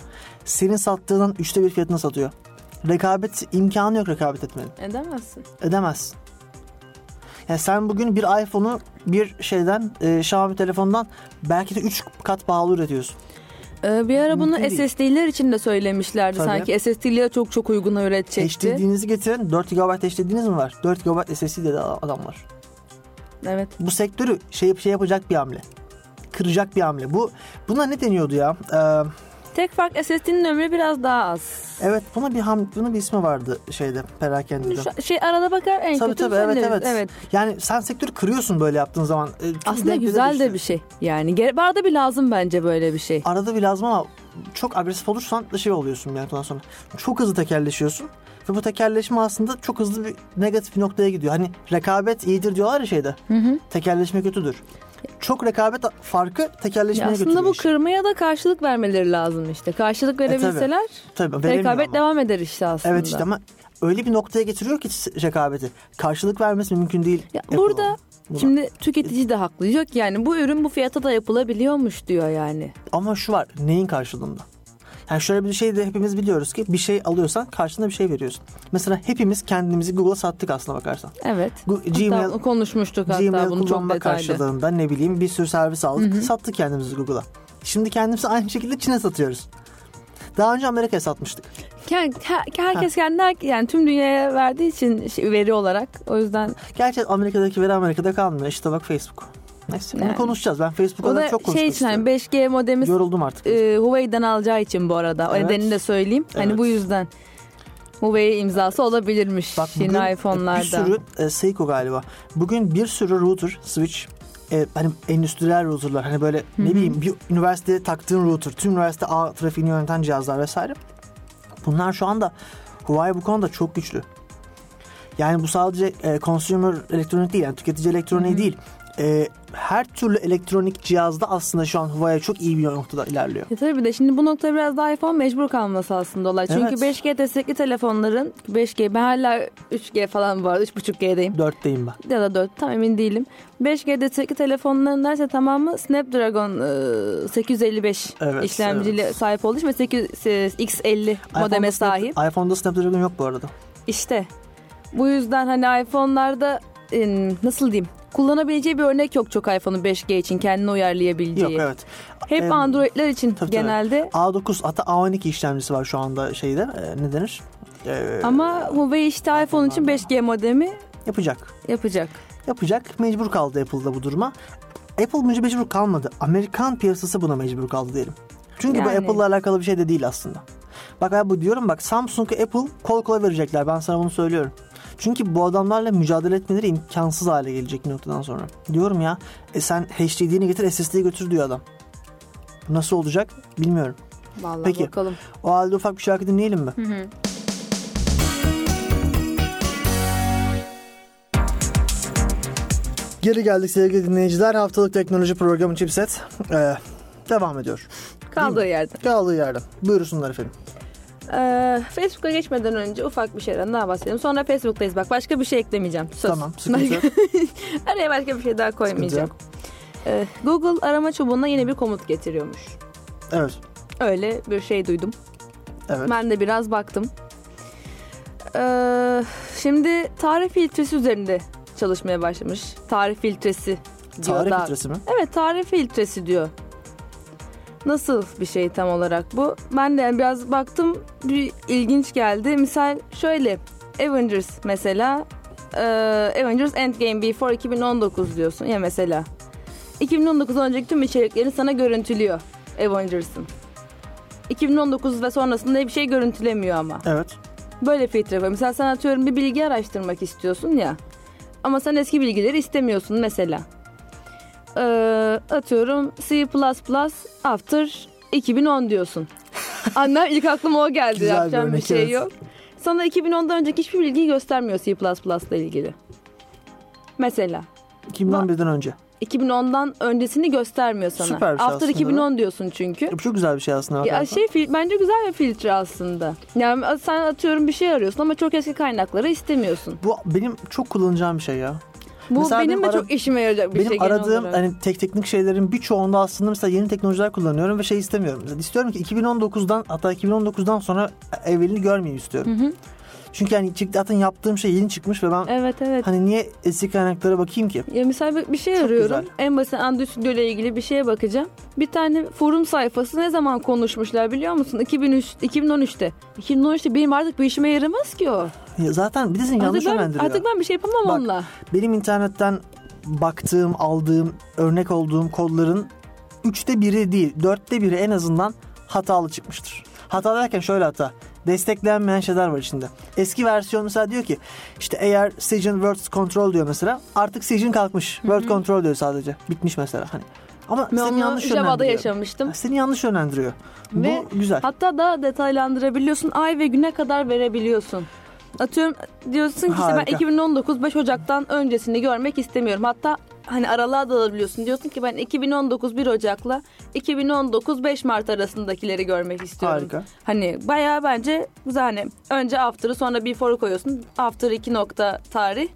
Speaker 3: Senin sattığının üçte bir fiyatına satıyor. Rekabet imkanı yok rekabet etmenin.
Speaker 4: Edemezsin.
Speaker 3: Edemezsin. Yani sen bugün bir iPhone'u bir şeyden, e, Xiaomi telefondan belki de 3 kat pahalı üretiyorsun.
Speaker 4: Ee, bir ara bunu
Speaker 3: Mümkün değil.
Speaker 4: SSD'ler için de söylemişlerdi
Speaker 3: Tabii.
Speaker 4: sanki. SSD'ler çok çok uyguna üretecekti.
Speaker 3: HDD'nizi getirin. 4 GB HDD'niz mi var? 4 GB SSD dedi adamlar.
Speaker 4: Evet.
Speaker 3: Bu sektörü şey şey yapacak bir hamle. Kıracak bir hamle. Bu buna ne deniyordu ya? Ee,
Speaker 4: Tek fark SSD'nin ömrü biraz daha az.
Speaker 3: evet buna bir ham bunun bir ismi vardı şeyde perakendede.
Speaker 4: Şu- şey arada bakar en
Speaker 3: Tabii
Speaker 4: kötü şey
Speaker 3: tabii evet
Speaker 4: söyleriz.
Speaker 3: evet. Yani sen sektörü kırıyorsun böyle yaptığın zaman. Ee, çok
Speaker 4: Aslında
Speaker 3: denk
Speaker 4: güzel de
Speaker 3: düşüyor.
Speaker 4: bir şey. Yani gere- barda bir lazım bence böyle bir şey.
Speaker 3: Arada bir lazım ama çok agresif olursan da şey oluyorsun bir noktadan sonra. Çok hızlı tekerleşiyorsun. Ve bu tekerleşme aslında çok hızlı bir negatif bir noktaya gidiyor. Hani rekabet iyidir diyorlar ya şeyde. Tekerleşme kötüdür. Çok rekabet farkı
Speaker 4: Ya
Speaker 3: tekerleşmeye
Speaker 4: aslında
Speaker 3: götürüyor
Speaker 4: bu
Speaker 3: işi. E,
Speaker 4: kırmaya da karşılık vermeleri lazım işte. Karşılık verebilseler
Speaker 3: Tabii, veremiyor
Speaker 4: rekabet
Speaker 3: ama.
Speaker 4: devam eder işte aslında.
Speaker 3: Evet işte ama öyle bir noktaya getiriyor ki rekabeti. Karşılık vermesi mümkün değil.
Speaker 4: Ya
Speaker 3: yapılan.
Speaker 4: burada
Speaker 3: Buna.
Speaker 4: Şimdi tüketici de haklı. Diyor ki yani bu ürün bu fiyata da yapılabiliyormuş diyor yani.
Speaker 3: Ama şu var neyin karşılığında? Yani şöyle bir şey de hepimiz biliyoruz ki bir şey alıyorsan karşılığında bir şey veriyorsun. Mesela hepimiz kendimizi Google'a sattık aslına bakarsan.
Speaker 4: Evet.
Speaker 3: Gu- Gmail,
Speaker 4: hatta konuşmuştuk hatta
Speaker 3: Gmail
Speaker 4: bunu çok
Speaker 3: kullanma
Speaker 4: detaylı.
Speaker 3: karşılığında ne bileyim bir sürü servis aldık. Sattık kendimizi Google'a. Şimdi kendimizi aynı şekilde Çin'e satıyoruz. Daha önce Amerika'ya satmıştık.
Speaker 4: Ke- ke- herkes kendi her- yani tüm dünyaya verdiği için şey- veri olarak o yüzden
Speaker 3: Gerçi Amerika'daki veri Amerika'da kalmıyor. İşte bak Facebook. Neyse bunu
Speaker 4: Yani.
Speaker 3: konuşacağız. Ben Facebook'a
Speaker 4: o
Speaker 3: da
Speaker 4: da
Speaker 3: çok
Speaker 4: şey
Speaker 3: konuşmak
Speaker 4: için hani
Speaker 3: istiyorum.
Speaker 4: 5G modemi
Speaker 3: Yoruldum artık.
Speaker 4: e, Huawei'den alacağı için bu arada. O
Speaker 3: Evet.
Speaker 4: nedenini de söyleyeyim. Hani
Speaker 3: Evet.
Speaker 4: bu yüzden Huawei imzası olabilirmiş
Speaker 3: Bak bugün
Speaker 4: yeni
Speaker 3: bir
Speaker 4: iPhone'larda.
Speaker 3: sürü e, Seiko galiba. Bugün bir sürü router, switch, e, hani endüstriyel routerlar hani böyle ne bileyim bir üniversiteye taktığın router, tüm üniversite ağ trafiğini yöneten cihazlar vesaire. Bunlar şu anda Huawei bu konuda çok güçlü. Yani bu sadece e, consumer elektronik değil yani tüketici elektroniği değil. e, her türlü elektronik cihazda aslında şu an Huawei çok iyi bir noktada ilerliyor.
Speaker 4: Ya E, tabii bir de şimdi bu noktada biraz daha iPhone mecbur kalması aslında olay. Çünkü
Speaker 3: Evet.
Speaker 4: 5G destekli telefonların 5G ben hala 3G falan bu arada 3.5G'deyim.
Speaker 3: Dörtteyim ben.
Speaker 4: Ya da 4 tam emin değilim. 5G destekli telefonların neredeyse tamamı Snapdragon e, 855
Speaker 3: Evet,
Speaker 4: işlemciyle sahip olduğu için ve 8, e, X50 modeme
Speaker 3: iPhone'da Snap-
Speaker 4: sahip.
Speaker 3: iPhone'da Snapdragon yok bu arada.
Speaker 4: İşte bu yüzden hani iPhone'larda e, nasıl diyeyim kullanabileceği bir örnek yok çok iPhone'un 5G için kendini uyarlayabileceği.
Speaker 3: Yok evet.
Speaker 4: Hep
Speaker 3: Em,
Speaker 4: Android'ler için
Speaker 3: tabii.
Speaker 4: genelde
Speaker 3: A9 hatta A12 işlemcisi var şu anda şeyde. e, ne denir? E,
Speaker 4: Ama Huawei işte iPhone için 5G modemi
Speaker 3: yapacak.
Speaker 4: yapacak.
Speaker 3: yapacak. Mecbur kaldı Apple da bu duruma. Apple bence mecbur kalmadı. Amerikan piyasası buna mecbur kaldı diyelim. Çünkü
Speaker 4: Yani.
Speaker 3: bu Apple'la alakalı bir şey de değil aslında. Bak abi bu diyorum bak Samsung'a Apple kol kola verecekler. Ben sana bunu söylüyorum. Çünkü bu adamlarla mücadele etmeleri imkansız hale gelecek bir noktadan sonra. Diyorum ya e sen HDD'ni getir SSD'yi götür diyor adam. Bu nasıl olacak bilmiyorum.
Speaker 4: Vallahi
Speaker 3: Peki.
Speaker 4: bakalım.
Speaker 3: O halde ufak bir şarkı dinleyelim mi? Geri geldik sevgili dinleyiciler. Haftalık teknoloji programı Chipset e, devam ediyor.
Speaker 4: Kaldığı yerden.
Speaker 3: Kaldığı yerden. Buyursunlar efendim.
Speaker 4: Ee, Facebook'a geçmeden önce ufak bir şeyden daha bahsedelim. Sonra Facebook'tayız bak. Başka bir şey eklemeyeceğim. Söz.
Speaker 3: Tamam sıkıntı yok.
Speaker 4: Araya başka bir şey daha koymayacağım.
Speaker 3: yok.
Speaker 4: Ee, Google arama çubuğuna yeni bir komut getiriyormuş.
Speaker 3: Evet.
Speaker 4: Öyle bir şey duydum.
Speaker 3: Evet.
Speaker 4: Ben de biraz baktım. Ee, şimdi tarih filtresi üzerinde çalışmaya başlamış. Tarih filtresi diyor
Speaker 3: Tarih
Speaker 4: daha-
Speaker 3: filtresi mi?
Speaker 4: Evet tarih filtresi diyor. Nasıl bir şey tam olarak bu? Ben de yani biraz baktım bir ilginç geldi. Misal şöyle Avengers mesela e, Avengers Endgame Before 2019 diyorsun ya mesela. 2019 önceki tüm içeriklerini sana görüntülüyor Avengers'ın. 2019 ve sonrasında bir şey görüntülemiyor ama.
Speaker 3: Evet.
Speaker 4: Böyle filtre var. Mesela sen atıyorum bir bilgi araştırmak istiyorsun ya. Ama sen eski bilgileri istemiyorsun mesela. Ee, atıyorum C++ after 2010 diyorsun. Annem ilk aklıma o geldi.
Speaker 3: Güzel bir
Speaker 4: Yapacağım bir
Speaker 3: örnek,
Speaker 4: şey
Speaker 3: evet.
Speaker 4: yok. Sana 2010'dan önceki hiçbir bilgiyi göstermiyor C++ ile ilgili. Mesela
Speaker 3: 2011'den önce.
Speaker 4: 2010'dan öncesini göstermiyor sana.
Speaker 3: Süper bir şey
Speaker 4: after
Speaker 3: aslında,
Speaker 4: 2010 diyorsun çünkü.
Speaker 3: Bu çok güzel bir şey aslında.
Speaker 4: Ya
Speaker 3: bakarsan.
Speaker 4: şey fil- bence güzel bir filtre aslında. Yani sen atıyorum bir şey arıyorsun ama çok eski kaynakları istemiyorsun.
Speaker 3: Bu benim çok kullanacağım bir şey ya.
Speaker 4: Bu
Speaker 3: Mesela
Speaker 4: benim,
Speaker 3: benim
Speaker 4: de
Speaker 3: ara-
Speaker 4: çok işime yarayacak bir
Speaker 3: benim
Speaker 4: şey genel
Speaker 3: aradığım
Speaker 4: olarak.
Speaker 3: hani tek teknik şeylerin birçoğunda aslında mesela yeni teknolojiler kullanıyorum ve şey istemiyorum. Mesela istiyorum ki 2019'dan hatta 2019'dan sonra evvelini görmeyeyim istiyorum. Çünkü hani çıktı zaten yaptığım şey yeni çıkmış ve ben
Speaker 4: Evet evet.
Speaker 3: hani niye eski kaynaklara bakayım ki?
Speaker 4: Ya mesela bir, bir şey arıyorum.
Speaker 3: güzel.
Speaker 4: En basit Android Studio ile ilgili bir şeye bakacağım. Bir tane forum sayfası ne zaman konuşmuşlar biliyor musun? 2003 2013'te. 2013'te benim artık bir işime yaramaz ki o.
Speaker 3: Ya zaten bir de seni yanlış
Speaker 4: artık, ben,
Speaker 3: yönlendiriyor.
Speaker 4: artık ben bir şey yapamam
Speaker 3: Bak,
Speaker 4: onunla.
Speaker 3: Benim internetten baktığım, aldığım, örnek olduğum kodların üçte biri değil, dörtte biri en azından hatalı çıkmıştır. Hata derken şöyle hata. Desteklenmeyen şeyler var içinde. Eski versiyon mesela diyor ki işte eğer Session Word Control diyor mesela artık Session kalkmış. Word Control diyor sadece. Bitmiş mesela hani. Ama
Speaker 4: Ben
Speaker 3: seni
Speaker 4: onu
Speaker 3: yanlış
Speaker 4: Java'da
Speaker 3: yönlendiriyor.
Speaker 4: yaşamıştım.
Speaker 3: Seni yanlış yönlendiriyor.
Speaker 4: Ve
Speaker 3: Bu güzel.
Speaker 4: Hatta daha detaylandırabiliyorsun. Ay ve güne kadar verebiliyorsun. Atıyorum diyorsun ki işte ben
Speaker 3: Harika.
Speaker 4: 2019 5 Ocak'tan öncesini görmek istemiyorum. Hatta hani aralığa da alabiliyorsun. Diyorsun ki ben 2019 1 Ocak'la 2019 5 Mart arasındakileri görmek istiyorum.
Speaker 3: Harika.
Speaker 4: Hani bayağı bence güzel hani önce after'ı sonra before'ı koyuyorsun. After 2 nokta tarih,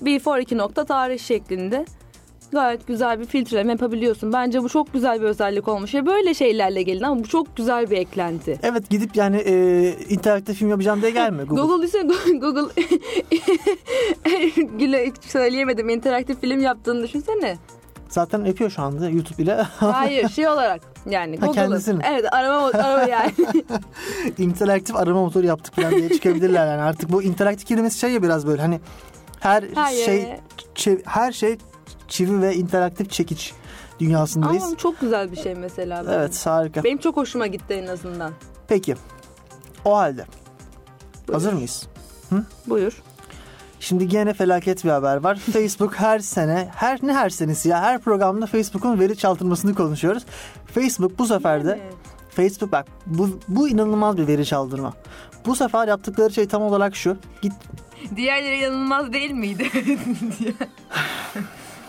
Speaker 4: before 2 nokta tarih şeklinde. Gayet güzel bir filtreleme yapabiliyorsun. Bence bu çok güzel bir özellik olmuş. Ya böyle şeylerle gelin ama bu çok güzel bir eklenti.
Speaker 3: Evet gidip yani e, internette film yapacağım diye gelme Google.
Speaker 4: Google ise Google güle hiç söyleyemedim. interaktif film yaptığını düşünsene.
Speaker 3: Zaten yapıyor şu anda YouTube ile.
Speaker 4: Hayır, şey olarak yani
Speaker 3: Ha,
Speaker 4: Google'ın.
Speaker 3: kendisini.
Speaker 4: Evet, arama arama yani.
Speaker 3: interaktif arama motoru yaptık falan diye çıkabilirler yani artık bu interaktif kelimesi şey ya biraz böyle hani her
Speaker 4: Hayır.
Speaker 3: şey çev- her şey çivi ve interaktif çekiç dünyasındayız.
Speaker 4: Ama çok güzel bir şey mesela. bence.
Speaker 3: evet harika.
Speaker 4: Benim çok hoşuma gitti en azından.
Speaker 3: Peki. O halde
Speaker 4: Buyur.
Speaker 3: hazır mıyız?
Speaker 4: Buyur.
Speaker 3: Şimdi gene felaket bir haber var. Facebook her sene, her ne her senesi ya her programda Facebook'un veri çaltırmasını konuşuyoruz. Facebook bu sefer de
Speaker 4: Yani.
Speaker 3: Facebook bak bu, bu inanılmaz bir veri çaldırma. Bu sefer yaptıkları şey tam olarak şu. Git
Speaker 4: Diğerleri yanılmaz değil miydi?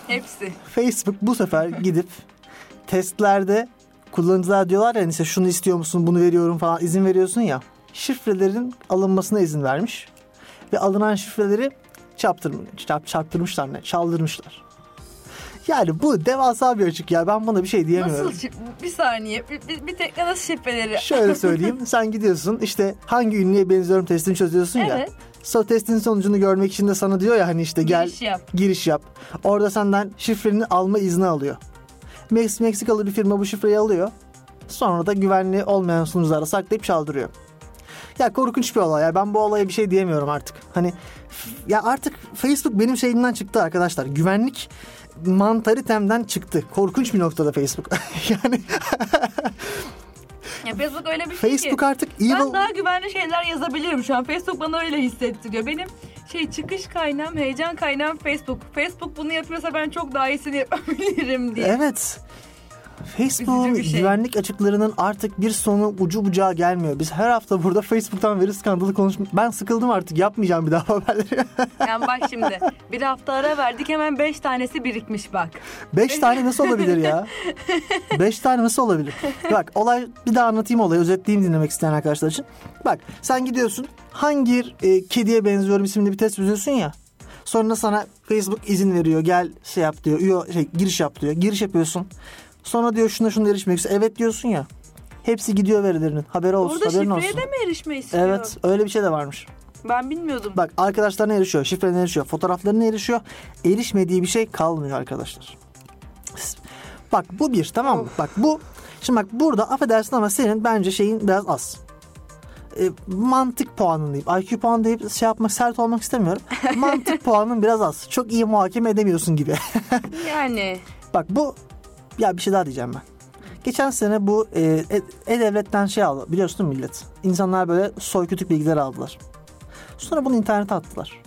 Speaker 4: Hepsi.
Speaker 3: Facebook bu sefer gidip testlerde kullanıcılar diyorlar ya hani işte şunu istiyor musun bunu veriyorum falan izin veriyorsun ya. Şifrelerin alınmasına izin vermiş. Ve alınan şifreleri çarptırmış, çarp, çarptırmışlar ne? Çaldırmışlar. Yani bu devasa bir açık ya. Ben buna bir şey diyemiyorum.
Speaker 4: Nasıl şif- bir saniye bir, bir, bir tekrar nasıl şifreleri?
Speaker 3: Şöyle söyleyeyim. Sen gidiyorsun işte hangi ünlüye benziyorum testini çözüyorsun ya.
Speaker 4: Evet.
Speaker 3: So testin sonucunu görmek için de sana diyor ya hani işte gel
Speaker 4: Giriş yap.
Speaker 3: giriş yap. Orada senden şifreni alma izni alıyor. Mex Meksikalı bir firma bu şifreyi alıyor. Sonra da güvenli olmayan sunuculara saklayıp çaldırıyor. Ya korkunç bir olay ya. Ben bu olaya bir şey diyemiyorum artık. Hani f- ya artık Facebook benim şeyimden çıktı arkadaşlar. Güvenlik mantaritemden çıktı. Korkunç bir noktada Facebook. yani
Speaker 4: Ya Facebook öyle bir şey
Speaker 3: Facebook
Speaker 4: ki.
Speaker 3: artık
Speaker 4: Ben
Speaker 3: evil
Speaker 4: daha güvenli şeyler yazabilirim şu an. Facebook bana öyle hissettiriyor. Benim şey çıkış kaynağım, heyecan kaynağım Facebook. Facebook bunu yapıyorsa ben çok daha iyisini yapabilirim diye.
Speaker 3: Evet. Facebook'un
Speaker 4: bir şey.
Speaker 3: güvenlik açıklarının artık bir sonu ucu bucağı gelmiyor. Biz her hafta burada Facebook'tan veri skandalı konuşmuş. Ben sıkıldım artık yapmayacağım bir daha haberleri.
Speaker 4: Yani bak şimdi bir hafta ara verdik hemen beş tanesi birikmiş bak.
Speaker 3: Beş tane nasıl olabilir ya? Beş tane nasıl olabilir? Bak olay bir daha anlatayım olayı özetleyeyim dinlemek isteyen arkadaşlar için. Bak sen gidiyorsun hangi e, kediye benziyorum isimli bir test çözüyorsun ya. Sonra sana Facebook izin veriyor gel şey yap diyor üye- şey, giriş yap diyor giriş yapıyorsun. Sonra diyor şuna şuna erişmek istiyor. Evet diyorsun ya. Hepsi gidiyor verilerinin haberi olsun
Speaker 4: Orada
Speaker 3: haberin
Speaker 4: şifreye
Speaker 3: olsun.
Speaker 4: de mi erişme istiyor?
Speaker 3: Evet öyle bir şey de varmış.
Speaker 4: Ben bilmiyordum.
Speaker 3: Bak arkadaşlarına erişiyor, şifrelerine erişiyor, fotoğraflarına erişiyor. Erişmediği bir şey kalmıyor arkadaşlar. Bak bu bir tamam mı? Bak bu şimdi bak burada affedersin ama senin bence şeyin biraz az. E, mantık puanın deyip IQ puan deyip şey yapmak sert olmak istemiyorum. Mantık puanın biraz az. Çok iyi muhakeme edemiyorsun gibi.
Speaker 4: Yani
Speaker 3: Bak bu ya bir şey daha diyeceğim ben. Geçen sene bu e, e- e-devletten şey aldı biliyorsun değil mi millet. İnsanlar böyle soykütük bilgiler aldılar. Sonra bunu internete attılar.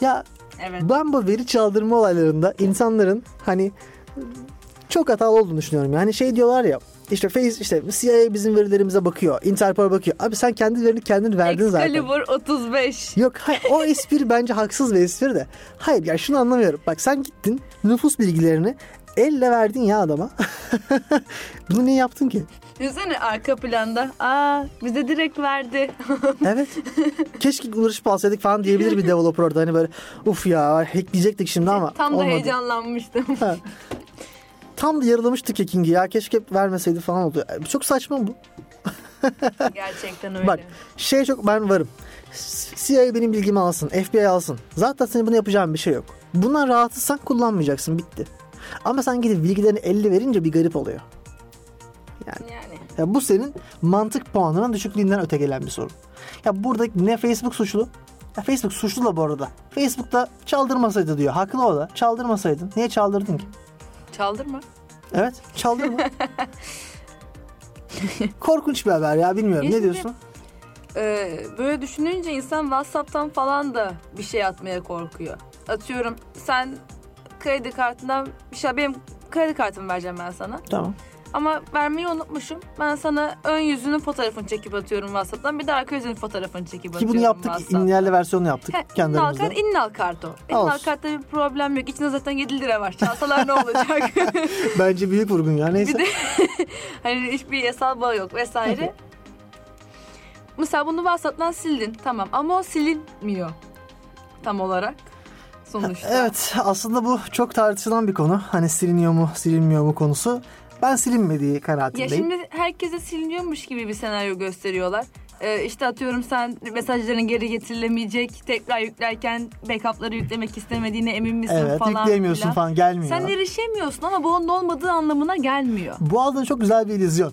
Speaker 3: Ya
Speaker 4: evet.
Speaker 3: ben bu veri çaldırma olaylarında insanların hani çok hatalı olduğunu düşünüyorum. Yani şey diyorlar ya işte Face işte CIA bizim verilerimize bakıyor. Interpol bakıyor. Abi sen kendi verini kendin verdin zaten.
Speaker 4: Excalibur 35.
Speaker 3: Yok hayır, o espri bence haksız bir espri de. Hayır ya şunu anlamıyorum. Bak sen gittin nüfus bilgilerini elle verdin ya adama. Bunu niye yaptın ki?
Speaker 4: Düşünsene arka planda. Aa bize direkt verdi.
Speaker 3: Evet. Keşke uğraşıp alsaydık falan diyebilir bir developer orada. Hani böyle uf ya hackleyecektik şimdi ama
Speaker 4: Tam da
Speaker 3: olmadı.
Speaker 4: heyecanlanmıştım.
Speaker 3: Ha. Tam da yaralamıştık hacking'i ya keşke vermeseydi falan oldu. Çok saçma bu.
Speaker 4: Gerçekten öyle.
Speaker 3: Bak şey çok ben varım. CIA benim bilgimi alsın, FBI alsın. Zaten senin bunu yapacağın bir şey yok. Bundan rahatsızsan kullanmayacaksın bitti. Ama sen gidip bilgilerini elle verince bir garip oluyor.
Speaker 4: Yani.
Speaker 3: Ya bu senin mantık puanının düşüklüğünden öte gelen bir sorun. Ya burada ne Facebook suçlu? Ya Facebook suçlu da bu arada. Facebook'ta çaldırmasaydı diyor. Haklı o da. Çaldırmasaydın. Niye çaldırdın ki?
Speaker 4: Çaldırma.
Speaker 3: Evet. Çaldırma. Korkunç bir haber ya bilmiyorum.
Speaker 4: Ya
Speaker 3: Ne
Speaker 4: şimdi-
Speaker 3: diyorsun?
Speaker 4: Ee, böyle düşününce insan WhatsApp'tan falan da bir şey atmaya korkuyor. Atıyorum sen kredi kartından bir şey benim kredi kartımı vereceğim ben sana.
Speaker 3: Tamam.
Speaker 4: Ama vermeyi unutmuşum. Ben sana ön yüzünün fotoğrafını çekip atıyorum WhatsApp'tan. Bir de arka yüzünün fotoğrafını çekip
Speaker 3: Ki
Speaker 4: atıyorum
Speaker 3: bunu yaptık.
Speaker 4: WhatsApp'tan.
Speaker 3: İnlerle versiyonu yaptık.
Speaker 4: Ha, İnnal
Speaker 3: Kendimizde.
Speaker 4: kart, innal kart o. İnnal
Speaker 3: Olsun.
Speaker 4: kartta bir problem yok. İçinde zaten 7 lira var. Çalsalar ne olacak?
Speaker 3: Bence büyük vurgun ya neyse.
Speaker 4: Bir de- hani hiçbir yasal bağı yok vesaire. Mesela bunu WhatsApp'tan sildin tamam ama o silinmiyor tam olarak sonuçta.
Speaker 3: Evet aslında bu çok tartışılan bir konu. Hani siliniyor mu silinmiyor mu konusu. Ben silinmediği
Speaker 4: Ya
Speaker 3: kanaatindeyim.
Speaker 4: şimdi herkese siliniyormuş gibi bir senaryo gösteriyorlar. Ee, işte atıyorum sen mesajların geri getirilemeyecek. Tekrar yüklerken backup'ları yüklemek istemediğine emin misin
Speaker 3: evet
Speaker 4: falan.
Speaker 3: yükleyemiyorsun
Speaker 4: filan.
Speaker 3: falan gelmiyor.
Speaker 4: Sen erişemiyorsun ama bu onun olmadığı anlamına gelmiyor.
Speaker 3: Bu aslında çok güzel bir illüzyon.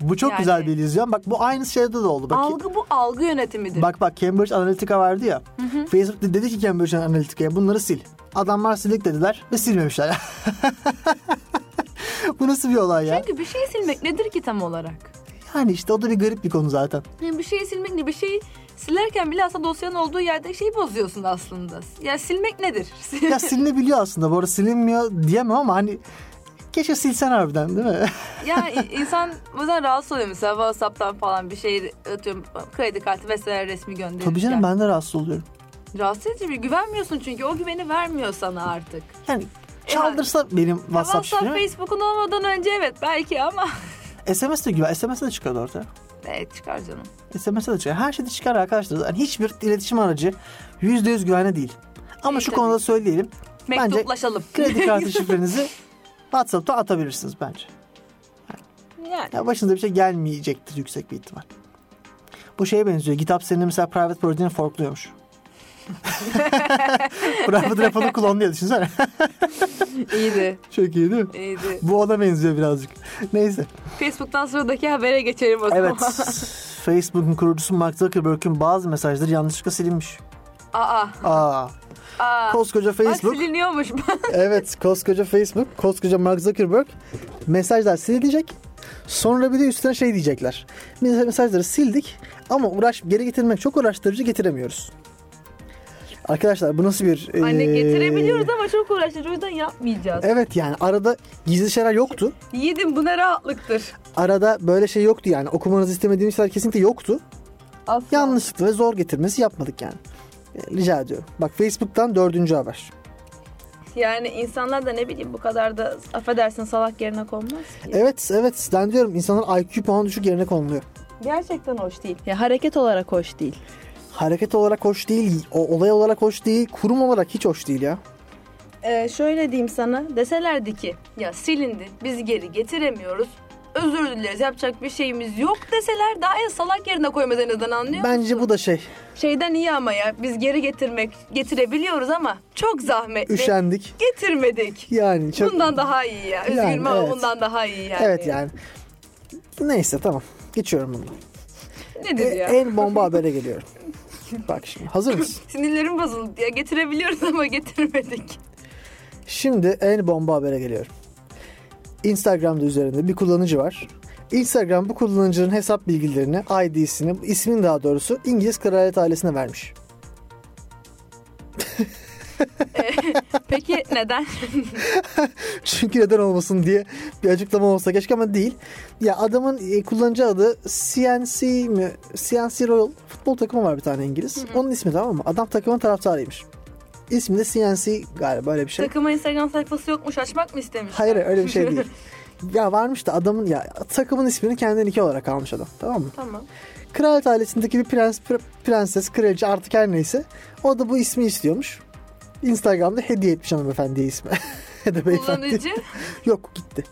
Speaker 3: Bu çok
Speaker 4: Yani.
Speaker 3: güzel bir illüzyon. Bak bu aynı şeyde de oldu. Bak,
Speaker 4: Algı bu algı yönetimidir.
Speaker 3: Bak bak Cambridge Analytica vardı ya. Facebook de- dedi ki Cambridge Analytica'ya bunları sil. Adamlar silik dediler ve silmemişler. bu nasıl bir olay ya?
Speaker 4: Çünkü bir şey silmek nedir ki tam olarak?
Speaker 3: Yani işte o da bir garip bir konu zaten.
Speaker 4: Yani bir şeyi silmek ne? Bir şeyi silerken bile aslında dosyanın olduğu yerde şeyi bozuyorsun aslında. Ya silmek nedir?
Speaker 3: Ya silinebiliyor aslında. Bu arada silinmiyor diyemem ama hani keşke silsen harbiden değil mi?
Speaker 4: ya i- insan bazen rahatsız oluyor mesela WhatsApp'tan falan bir şey atıyorum kredi kartı vesaire resmi gönderiyor.
Speaker 3: Tabii canım ben de rahatsız oluyorum.
Speaker 4: Rahatsız edici bir güvenmiyorsun çünkü o güveni vermiyor sana artık.
Speaker 3: Yani çaldırsa benim
Speaker 4: Ya
Speaker 3: WhatsApp
Speaker 4: WhatsApp
Speaker 3: şifremi.
Speaker 4: Facebook'un olmadan önce evet belki ama
Speaker 3: SMS de güven. SMS de çıkıyordu ortaya.
Speaker 4: evet çıkar canım.
Speaker 3: SMS de çıkıyor. Her şeyde çıkar arkadaşlar. Yani hiçbir iletişim aracı %100 güvenli değil. Ama
Speaker 4: Değil
Speaker 3: şu
Speaker 4: tabii.
Speaker 3: konuda söyleyelim. Bence
Speaker 4: Mektuplaşalım.
Speaker 3: kredi kartı şifrenizi WhatsApp'ta atabilirsiniz bence.
Speaker 4: Yani.
Speaker 3: Ya başınıza bir şey gelmeyecektir yüksek bir ihtimal. Bu şeye benziyor. GitHub senin mesela private proje'ni forkluyormuş. private repo'nu klonluyor düşünsene.
Speaker 4: İyiydi.
Speaker 3: Çok iyi değil mi?
Speaker 4: İyiydi.
Speaker 3: Bu ona benziyor birazcık. Neyse.
Speaker 4: Facebook'tan sıradaki habere geçelim o zaman.
Speaker 3: Evet. Facebook'un kurucusu Mark Zuckerberg'in bazı mesajları yanlışlıkla silinmiş.
Speaker 4: Aa,
Speaker 3: Aa.
Speaker 4: aa.
Speaker 3: Koskoca
Speaker 4: Bak
Speaker 3: Facebook.
Speaker 4: siliniyormuş.
Speaker 3: evet koskoca Facebook, koskoca Mark Zuckerberg mesajlar silecek. Sonra bir de üstüne şey diyecekler. Mes- Mesajları sildik ama uğraş geri getirmek çok uğraştırıcı getiremiyoruz. Arkadaşlar bu nasıl bir...
Speaker 4: Anne
Speaker 3: eee,
Speaker 4: getirebiliyoruz ama çok uğraştık. O yüzden yapmayacağız.
Speaker 3: Ee, Evet yani arada gizli şeyler yoktu.
Speaker 4: Yiğidim bu ne rahatlıktır.
Speaker 3: Arada böyle şey yoktu yani okumanızı istemediğimiz şeyler kesinlikle yoktu.
Speaker 4: Asla.
Speaker 3: Yanlışlıkla ve zor getirmesi yapmadık yani. E, Rica ediyorum. Bak Facebook'tan dördüncü haber.
Speaker 4: Yani insanlar da ne bileyim bu kadar da affedersin salak yerine konmaz ki.
Speaker 3: Evet evet ben diyorum insanlar IQ puanı düşük yerine konuluyor.
Speaker 4: Gerçekten hoş değil. Ya hareket olarak hoş değil.
Speaker 3: hareket olarak hoş değil, o olay olarak hoş değil, kurum olarak hiç hoş değil ya.
Speaker 4: Ee, şöyle diyeyim sana deselerdi ki ya silindi biz geri getiremiyoruz. Özür dileriz yapacak bir şeyimiz yok deseler daha en salak yerine koymaz en azından anlıyor
Speaker 3: Bence
Speaker 4: musun?
Speaker 3: bu da şey,
Speaker 4: Şeyden iyi ama ya biz geri getirmek getirebiliyoruz ama çok zahmetli.
Speaker 3: üşendik.
Speaker 4: Getirmedik.
Speaker 3: Yani çok
Speaker 4: Bundan daha iyi ya. Üzgünüm
Speaker 3: Yani,
Speaker 4: ama
Speaker 3: evet.
Speaker 4: bundan daha iyi yani.
Speaker 3: Evet yani. Neyse tamam. Geçiyorum bunu.
Speaker 4: Nedir
Speaker 3: E,
Speaker 4: ya?
Speaker 3: en bomba habere geliyorum. Bak şimdi hazır mısın?
Speaker 4: Sinirlerim bozuldu ya. Getirebiliyoruz ama getirmedik.
Speaker 3: Şimdi en bomba habere geliyorum. Instagram'da üzerinde bir kullanıcı var. Instagram bu kullanıcının hesap bilgilerini, ID'sini, ismini daha doğrusu İngiliz kraliyet ailesine vermiş.
Speaker 4: Peki neden?
Speaker 3: Çünkü neden olmasın diye bir açıklama olsa keşke ama değil. Ya adamın e, kullanıcı adı CNC mi? CNC Royal futbol takımı var bir tane İngiliz. Onun ismi tamam mı? Adam takımın taraftarıymış. İsmi de CNC galiba öyle bir şey.
Speaker 4: Takımın Instagram sayfası yokmuş. Açmak mı istemiş?
Speaker 3: Hayır öyle bir şey değil. ya varmış da adamın ya takımın ismini kendine iki olarak almış adam tamam mı?
Speaker 4: tamam.
Speaker 3: Kraliyet ailesindeki bir prens, pre- prenses, kraliçe artık her neyse o da bu ismi istiyormuş. Instagram'da hediye etmiş hanımefendiye ismi. Ya da beyefendi.
Speaker 4: Kullanıcı
Speaker 3: Yok gitti.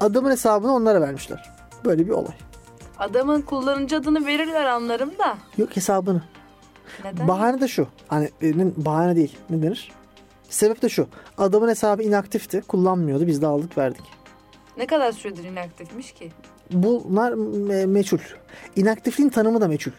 Speaker 3: Adamın hesabını onlara vermişler. Böyle bir olay.
Speaker 4: adamın kullanıcı adını verirler anlarım da.
Speaker 3: Yok hesabını.
Speaker 4: Neden?
Speaker 3: Bahane de şu. Hani e, ne- bahane değil. Ne denir? Sebep de şu. Adamın hesabı inaktifti. Kullanmıyordu. Biz de aldık verdik.
Speaker 4: ne kadar süredir inaktifmiş ki?
Speaker 3: Bunlar me- meçhul. İnaktifliğin tanımı da meçhul.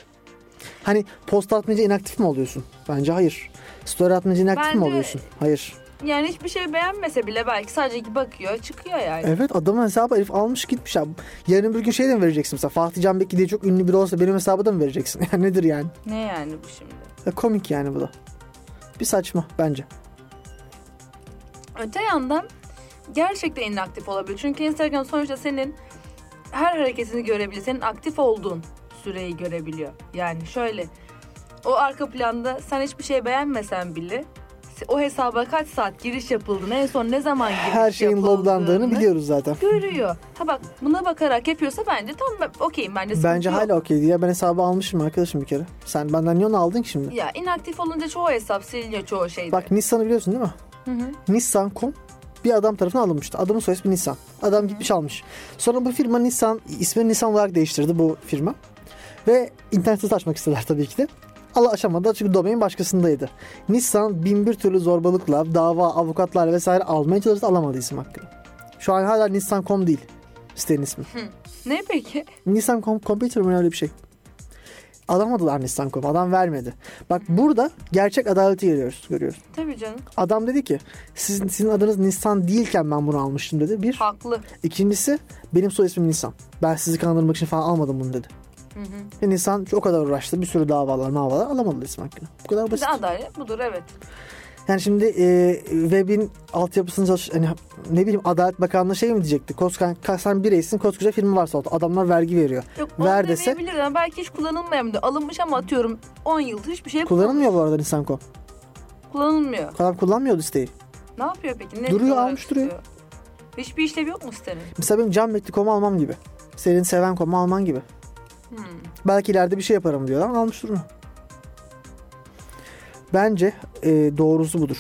Speaker 3: Hani post atmayınca inaktif mi oluyorsun? Bence hayır. Story atmayınca inaktif mi
Speaker 4: Bence-
Speaker 3: oluyorsun? Hayır.
Speaker 4: Yani hiçbir şey beğenmese bile belki sadece bakıyor çıkıyor yani.
Speaker 3: Evet adamın hesabı herif almış gitmiş abi. Yarın bir gün şey de mi vereceksin mesela Fatih Can Bekki diye çok ünlü biri olsa benim hesabı da mı vereceksin? Yani nedir yani?
Speaker 4: Ne yani bu şimdi?
Speaker 3: E, komik yani bu da. Bir saçma bence.
Speaker 4: Öte yandan gerçekten inaktif olabilir. Çünkü Instagram sonuçta senin her hareketini görebiliyor. Senin aktif olduğun süreyi görebiliyor. Yani şöyle o arka planda sen hiçbir şey beğenmesen bile o hesaba kaç saat giriş yapıldığını en son ne zaman giriş
Speaker 3: Her şeyin
Speaker 4: şey yapıldığını
Speaker 3: loglandığını biliyoruz zaten.
Speaker 4: Görüyor. Ha bak buna bakarak yapıyorsa bence tam ben- okeyim bence sıkıntı
Speaker 3: Bence
Speaker 4: yok.
Speaker 3: hala okey ya ben hesabı almışım arkadaşım bir kere. Sen benden niye onu aldın ki şimdi?
Speaker 4: Ya inaktif olunca çoğu hesap siliniyor çoğu şeyde.
Speaker 3: Bak Nissan'ı biliyorsun değil mi?
Speaker 4: Hı hı.
Speaker 3: Nissan.com bir adam tarafından alınmıştı. Adamın soy ismi Nissan. Adam gitmiş almış. Sonra bu firma Nissan ismini Nissan olarak değiştirdi bu firma. Ve internet sitesi açmak istediler tabii ki de. Allah aşamada çünkü domain başkasındaydı. Nissan bin bir türlü zorbalıkla dava, avukatlar vesaire almaya çalıştı alamadı isim hakkını. Şu an hala Nissan.com değil sitenin ismi.
Speaker 4: Ne peki?
Speaker 3: Nissan Com- Computer mı öyle bir şey. Alamadılar Nissan Com. Adam vermedi. Bak burada gerçek adaleti görüyoruz. görüyoruz.
Speaker 4: Tabii canım.
Speaker 3: Adam dedi ki sizin, sizin adınız Nissan değilken ben bunu almıştım dedi. Bir.
Speaker 4: Haklı.
Speaker 3: İkincisi benim soy ismim Nissan. Ben sizi kandırmak için falan almadım bunu dedi.
Speaker 4: Hı hı.
Speaker 3: Ve Nissan o kadar uğraştı. Bir sürü davalar mavalar alamadılar isim hakkını. Bu kadar basit.
Speaker 4: Adalet budur evet.
Speaker 3: Yani şimdi e, webin altyapısını çalış... Hani, ne bileyim Adalet Bakanlığı şey mi diyecekti? Koskan, sen bireysin koskoca firma varsa orada. Adamlar vergi veriyor.
Speaker 4: Yok,
Speaker 3: onu Ver dese-
Speaker 4: Belki hiç kullanılmayabilir. Alınmış ama atıyorum 10 yıldır hiçbir şey
Speaker 3: Kullanılmıyor bu arada Nisanko.
Speaker 4: kullanılmıyor.
Speaker 3: Adam kullanmıyordu siteyi.
Speaker 4: Ne yapıyor peki? Ne
Speaker 3: Duruyor,
Speaker 4: olarak
Speaker 3: almış duruyor.
Speaker 4: tutuyor? Hiçbir işlevi yok mu sitenin?
Speaker 3: Mesela benim can komu almam gibi. Senin seven komu alman gibi.
Speaker 4: Hmm.
Speaker 3: Belki ileride bir şey yaparım diyor ama almış durma. Bence e, doğrusu budur.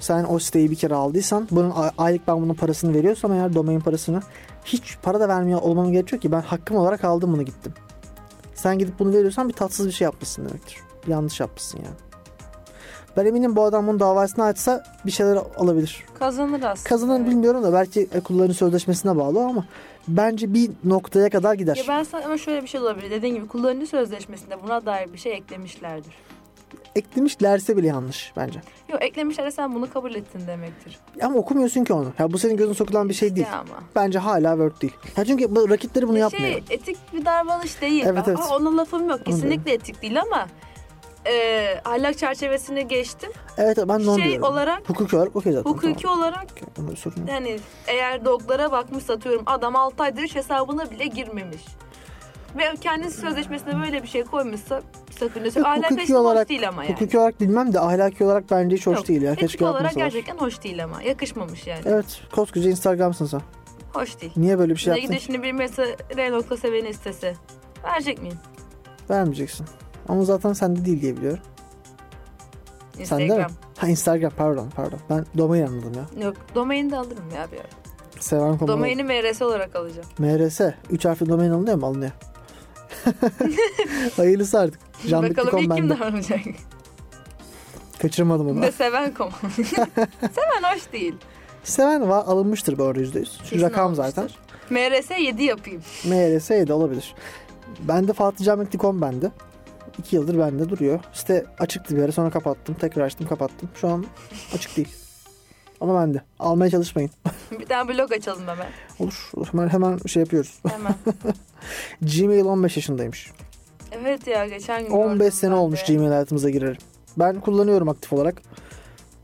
Speaker 3: Sen o siteyi bir kere aldıysan bunun a- aylık ben bunun parasını veriyorsam eğer domain parasını hiç para da vermiyor olmam gerekiyor ki ben hakkım olarak aldım bunu gittim. Sen gidip bunu veriyorsan bir tatsız bir şey yapmışsın demektir. Bir yanlış yapmışsın yani. Ben eminim bu adam bunun davasını açsa bir şeyler alabilir.
Speaker 4: Kazanır aslında.
Speaker 3: Kazanır bilmiyorum da belki e, kullanıcı sözleşmesine bağlı ama bence bir noktaya kadar gider.
Speaker 4: Ya ben sana ama şöyle bir şey olabilir. Dediğin gibi kullanıcı sözleşmesinde buna dair bir şey eklemişlerdir.
Speaker 3: Eklemişlerse bile yanlış bence.
Speaker 4: Yok eklemişlerse sen bunu kabul ettin demektir.
Speaker 3: Ama okumuyorsun ki onu. Ya bu senin gözüne sokulan bir şey değil.
Speaker 4: Ya ama.
Speaker 3: Bence hala Word değil. Ya çünkü bu rakipleri bunu yapmıyor.
Speaker 4: Şey etik bir davranış değil.
Speaker 3: Evet,
Speaker 4: Ben-
Speaker 3: evet.
Speaker 4: Aa, ona lafım yok. Kesinlikle etik değil ama e, ahlak çerçevesini geçtim.
Speaker 3: Evet ben de onu
Speaker 4: şey
Speaker 3: diyorum.
Speaker 4: olarak-
Speaker 3: Hukuki olarak okey zaten.
Speaker 4: Hukuki olarak
Speaker 3: Tamam. Ama sorun yok.
Speaker 4: yani Hani eğer doglara bakmış satıyorum adam 6 aydır hiç hesabına bile girmemiş. Ve kendisi sözleşmesine böyle bir şey koymuşsa sakıncası.
Speaker 3: Yok,
Speaker 4: Ahlak
Speaker 3: hukuki
Speaker 4: açısından
Speaker 3: olarak-
Speaker 4: hoş değil ama yani.
Speaker 3: Hukuki olarak bilmem de ahlaki olarak bence hiç hoş
Speaker 4: Yok,
Speaker 3: değil ya.
Speaker 4: etik
Speaker 3: Keşke
Speaker 4: olarak
Speaker 3: yapmasalar.
Speaker 4: gerçekten hoş değil ama. Yakışmamış yani.
Speaker 3: Evet koskoca Instagram'sın sen.
Speaker 4: Hoş değil.
Speaker 3: Niye böyle bir
Speaker 4: Şey
Speaker 3: şey
Speaker 4: Bize
Speaker 3: yaptın?
Speaker 4: gidişini bir mesela R nokta seviyeni istese. Verecek miyim?
Speaker 3: Vermeyeceksin. Ama zaten sende değil diye biliyorum.
Speaker 4: Instagram.
Speaker 3: Sende mi? Ha Instagram pardon pardon. Ben domain anladım ya.
Speaker 4: Yok domaini de alırım ya bir ara.
Speaker 3: Seven Koman.
Speaker 4: Domaini MRS olarak alacağım.
Speaker 3: MRS. 3 harfli domain alınıyor mu? Alınıyor. Hayırlısı artık.
Speaker 4: Bakalım
Speaker 3: Jandik.com
Speaker 4: ilk kim
Speaker 3: bende.
Speaker 4: davranacak.
Speaker 3: Kaçırmadım onu.
Speaker 4: Bir de seven kom. seven hoş değil.
Speaker 3: Seven var alınmıştır bu arada %100. Şu
Speaker 4: Kesin
Speaker 3: rakam
Speaker 4: alınmıştır.
Speaker 3: zaten.
Speaker 4: MRS 7 yapayım.
Speaker 3: MRS de olabilir. Bende Fatih Cametli.com bende. 2 yıldır bende duruyor. Site açıktı bir ara sonra kapattım. Tekrar açtım kapattım. Şu an açık değil. Ama bende. Almaya çalışmayın.
Speaker 4: Bir tane blog açalım hemen.
Speaker 3: Olur. olur. Hemen, hemen şey yapıyoruz.
Speaker 4: Hemen.
Speaker 3: Gmail 15 yaşındaymış.
Speaker 4: Evet ya geçen gün
Speaker 3: 15
Speaker 4: gördüm
Speaker 3: sene
Speaker 4: ben de.
Speaker 3: olmuş Gmail hayatımıza girer. Ben kullanıyorum aktif olarak.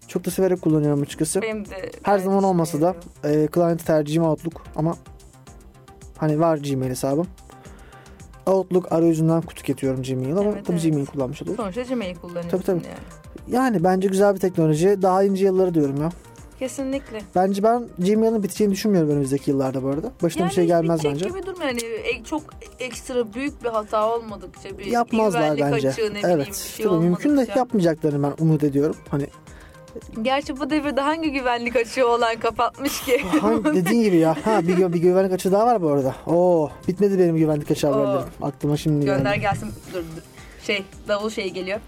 Speaker 3: Çok da severek kullanıyorum açıkçası.
Speaker 4: Benim de
Speaker 3: Her zaman
Speaker 4: aynı
Speaker 3: olmasa da e,
Speaker 4: düşünüyorum.
Speaker 3: client tercihim Outlook ama hani var Gmail hesabım. Outlook arayüzünden tüketiyorum Gmail ama
Speaker 4: Evet,
Speaker 3: tabii
Speaker 4: evet.
Speaker 3: Gmail kullanmış oluyorum.
Speaker 4: Sonuçta Gmail kullanıyorsun
Speaker 3: Tabii, tabii.
Speaker 4: yani.
Speaker 3: Yani bence güzel bir teknoloji. Daha ince yılları diyorum ya.
Speaker 4: Kesinlikle.
Speaker 3: Bence ben Gmail'in biteceğini düşünmüyorum önümüzdeki yıllarda bu arada. Başına bir şey
Speaker 4: hiç
Speaker 3: gelmez
Speaker 4: bitecek
Speaker 3: bence.
Speaker 4: gibi durmuyor. Yani e- çok ekstra büyük bir hata olmadıkça bir
Speaker 3: Yapmazlar
Speaker 4: güvenlik
Speaker 3: bence.
Speaker 4: açığı ne bileyim bir
Speaker 3: evet.
Speaker 4: şey
Speaker 3: tabii mümkün de
Speaker 4: olmadıkça.
Speaker 3: yapmayacaklarını ben umut ediyorum. Hani
Speaker 4: Gerçi bu devirde hangi güvenlik açığı olan kapatmış ki?
Speaker 3: hangi dediğin gibi ya. Ha bir, gü- bir güvenlik açığı daha var bu arada. Oo bitmedi benim güvenlik açığı haberlerim. Aklıma şimdi geldi.
Speaker 4: Gönder gelsin. Dur, dur. Şey davul şeyi geliyor.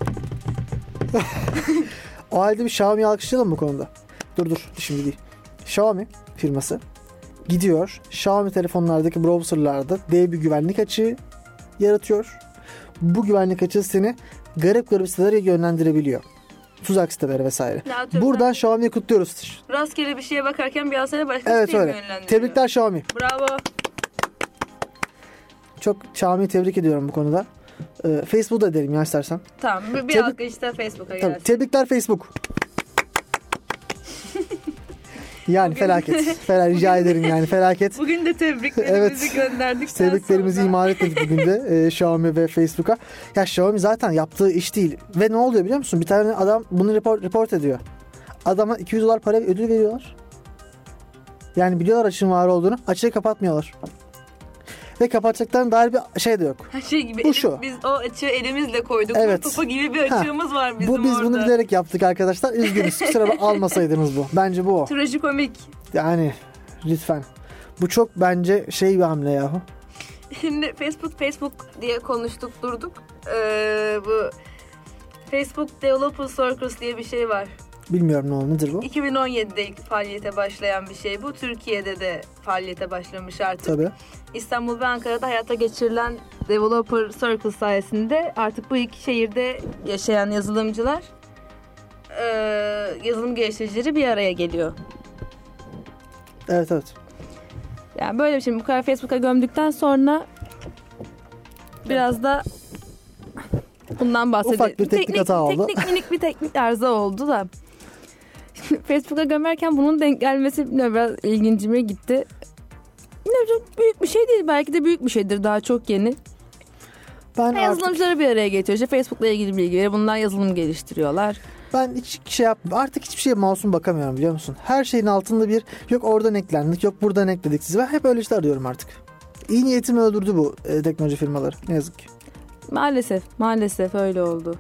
Speaker 3: O halde bir Xiaomi alkışlayalım bu konuda. Dur dur şimdi değil. Xiaomi firması gidiyor Xiaomi telefonlardaki browserlarda dev bir güvenlik açığı yaratıyor. Bu güvenlik açığı seni garip garip sitelere yönlendirebiliyor. Tuzak siteleri vesaire.
Speaker 4: Ne atıyorum
Speaker 3: Buradan Xiaomi'yi kutluyoruz.
Speaker 4: ben? Rastgele bir şeye bakarken bir alsana başka bir
Speaker 3: Evet
Speaker 4: şeye mi
Speaker 3: öyle.
Speaker 4: yönlendiriyor?
Speaker 3: Tebrikler Xiaomi.
Speaker 4: Bravo.
Speaker 3: Çok Xiaomi'yi tebrik ediyorum bu konuda. Ee, Facebook'u da derim ya istersen.
Speaker 4: Tamam bir, bir
Speaker 3: Tebrik-
Speaker 4: alkış da Facebook'a
Speaker 3: Tabii,
Speaker 4: gelsin.
Speaker 3: tebrikler Facebook. yani felaket. Fela, rica ederim yani felaket.
Speaker 4: Bugün de tebriklerimizi
Speaker 3: Evet.
Speaker 4: gönderdik.
Speaker 3: Sevdiklerimizi imal etmedik bugün de e, Xiaomi ve Facebook'a. Ya Xiaomi zaten yaptığı iş değil. Ve ne oluyor biliyor musun? Bir tane adam bunu report, report ediyor. Adama 200 dolar para ödül veriyorlar. Yani biliyorlar açığın var olduğunu. Açığı kapatmıyorlar. Ve kapatacaklarına dair bir şey de yok.
Speaker 4: Her şey gibi.
Speaker 3: Bu
Speaker 4: elim-
Speaker 3: şu.
Speaker 4: Biz o açığı elimizle koyduk.
Speaker 3: Evet.
Speaker 4: Evet. Topa gibi bir
Speaker 3: Ha.
Speaker 4: açığımız var bizim
Speaker 3: bu biz
Speaker 4: orada.
Speaker 3: bunu bilerek yaptık arkadaşlar. Üzgünüz. Kusura bak- almasaydınız bu. Bence bu o.
Speaker 4: Trajikomik.
Speaker 3: Yani lütfen. Bu çok bence şey bir hamle yahu.
Speaker 4: Şimdi Facebook Facebook diye konuştuk durduk. Ee, bu Facebook Developer Circus diye bir şey var.
Speaker 3: Bilmiyorum ne oldu nedir bu.
Speaker 4: 2017'de ilk faaliyete başlayan bir şey bu. Türkiye'de de faaliyete başlamış artık.
Speaker 3: Tabii.
Speaker 4: İstanbul ve Ankara'da hayata geçirilen Developer Circle sayesinde artık bu iki şehirde yaşayan yazılımcılar e, yazılım geliştiricileri bir araya geliyor.
Speaker 3: Evet evet.
Speaker 4: Yani böyle bir şey bu kadar Facebook'a gömdükten sonra biraz da bundan bahsedelim.
Speaker 3: Ufak bir teknik hata oldu.
Speaker 4: Teknik minik bir teknik arıza oldu da. Facebook'a gömerken bunun denk gelmesi bilmiyorum, biraz ilgincime gitti. Ne bileyim, büyük bir şey değil belki de büyük bir şeydir daha çok yeni.
Speaker 3: Ben artık,
Speaker 4: Yazılımcıları bir araya getiriyor. İşte Facebook'la ilgili bilgi veriyor. Bunlar yazılım geliştiriyorlar.
Speaker 3: ben hiç şey yapmıyorum. Artık hiçbir şeye masum bakamıyorum biliyor musun? Her şeyin altında bir yok oradan eklendik yok buradan ekledik sizi. Ben hep öyle işte arıyorum artık. İyi niyetimi öldürdü bu e, teknoloji firmaları ne yazık ki.
Speaker 4: Maalesef maalesef öyle oldu.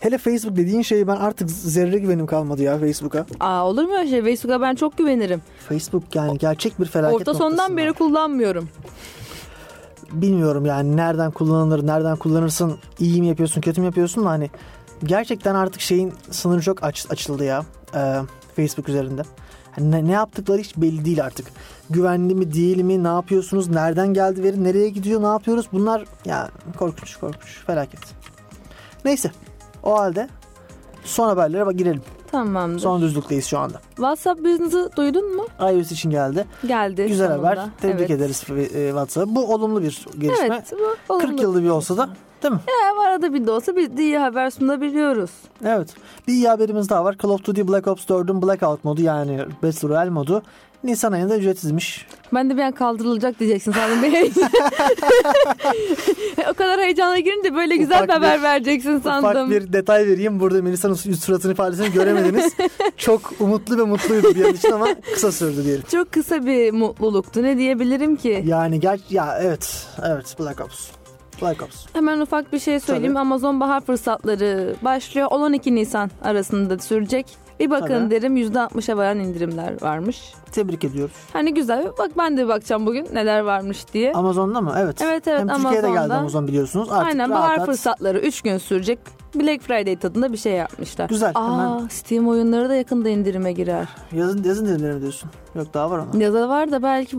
Speaker 3: Hele Facebook dediğin şeyi ben artık zerre güvenim kalmadı ya Facebook'a.
Speaker 4: Aa olur mu öyle şey? Facebook'a ben çok güvenirim.
Speaker 3: Facebook yani gerçek bir felaket
Speaker 4: Orta sondan
Speaker 3: noktasında.
Speaker 4: beri kullanmıyorum.
Speaker 3: bilmiyorum yani nereden kullanılır, nereden kullanırsın, iyi mi yapıyorsun, kötü mü yapıyorsun da hani gerçekten artık şeyin sınırı çok aç, açıldı ya e, Facebook üzerinde. Hani ne, ne yaptıkları hiç belli değil artık. Güvenli mi değil mi, ne yapıyorsunuz, nereden geldi veri, nereye gidiyor, ne yapıyoruz bunlar ya korkunç korkunç felaket. Neyse o halde son haberlere bak girelim.
Speaker 4: Tamamdır.
Speaker 3: Son düzlükteyiz şu anda.
Speaker 4: WhatsApp Business'ı duydun mu?
Speaker 3: iOS için geldi.
Speaker 4: Geldi.
Speaker 3: Güzel
Speaker 4: sonunda.
Speaker 3: haber. Tebrik
Speaker 4: evet.
Speaker 3: ederiz e, WhatsApp'ı. Bu olumlu bir gelişme.
Speaker 4: Evet. Bu,
Speaker 3: 40 yılda bir olsa da değil mi?
Speaker 4: Hem arada bir de olsa bir de iyi haber sunabiliyoruz.
Speaker 3: Evet. Bir iyi haberimiz daha var. Call of Duty Black Ops 4'ün Blackout modu yani Battle Royale modu Nisan ayında ücretsizmiş.
Speaker 4: Ben de bir an kaldırılacak diyeceksin sandım. Bir heyecan. o kadar heyecana girince böyle güzel
Speaker 3: Ufak
Speaker 4: bir haber
Speaker 3: bir-
Speaker 4: vereceksin sandım.
Speaker 3: Ufak bir detay vereyim. Burada Melisa'nın yüz suratını ifadesini göremediniz. Çok umutlu ve mutluydu bir an için ama kısa sürdü diyelim.
Speaker 4: Çok kısa bir mutluluktu. Ne diyebilirim ki?
Speaker 3: Yani ger ya evet. Evet Black Ops. Black Ops.
Speaker 4: Hemen ufak bir şey söyleyeyim.
Speaker 3: Tabii.
Speaker 4: Amazon bahar fırsatları başlıyor. 10-12 Nisan arasında sürecek. Bir bakın
Speaker 3: Tabii.
Speaker 4: derim %60'a varan indirimler varmış.
Speaker 3: Tebrik ediyoruz.
Speaker 4: Hani güzel. Bak ben de bakacağım bugün neler varmış diye.
Speaker 3: Amazon'da mı? Evet.
Speaker 4: Evet, evet,
Speaker 3: Hem Türkiye'de geldi
Speaker 4: Amazon'da.
Speaker 3: Amazon biliyorsunuz. Artık
Speaker 4: Aynen
Speaker 3: rahat
Speaker 4: bahar
Speaker 3: rahat-
Speaker 4: fırsatları 3 gün sürecek. Black Friday tadında bir şey yapmışlar.
Speaker 3: Güzel,
Speaker 4: Aa,
Speaker 3: hemen-
Speaker 4: Steam oyunları da yakında indirime girer.
Speaker 3: Yazın, yazın dilimleri diyorsun. Yok daha var ama.
Speaker 4: Ya da var da belki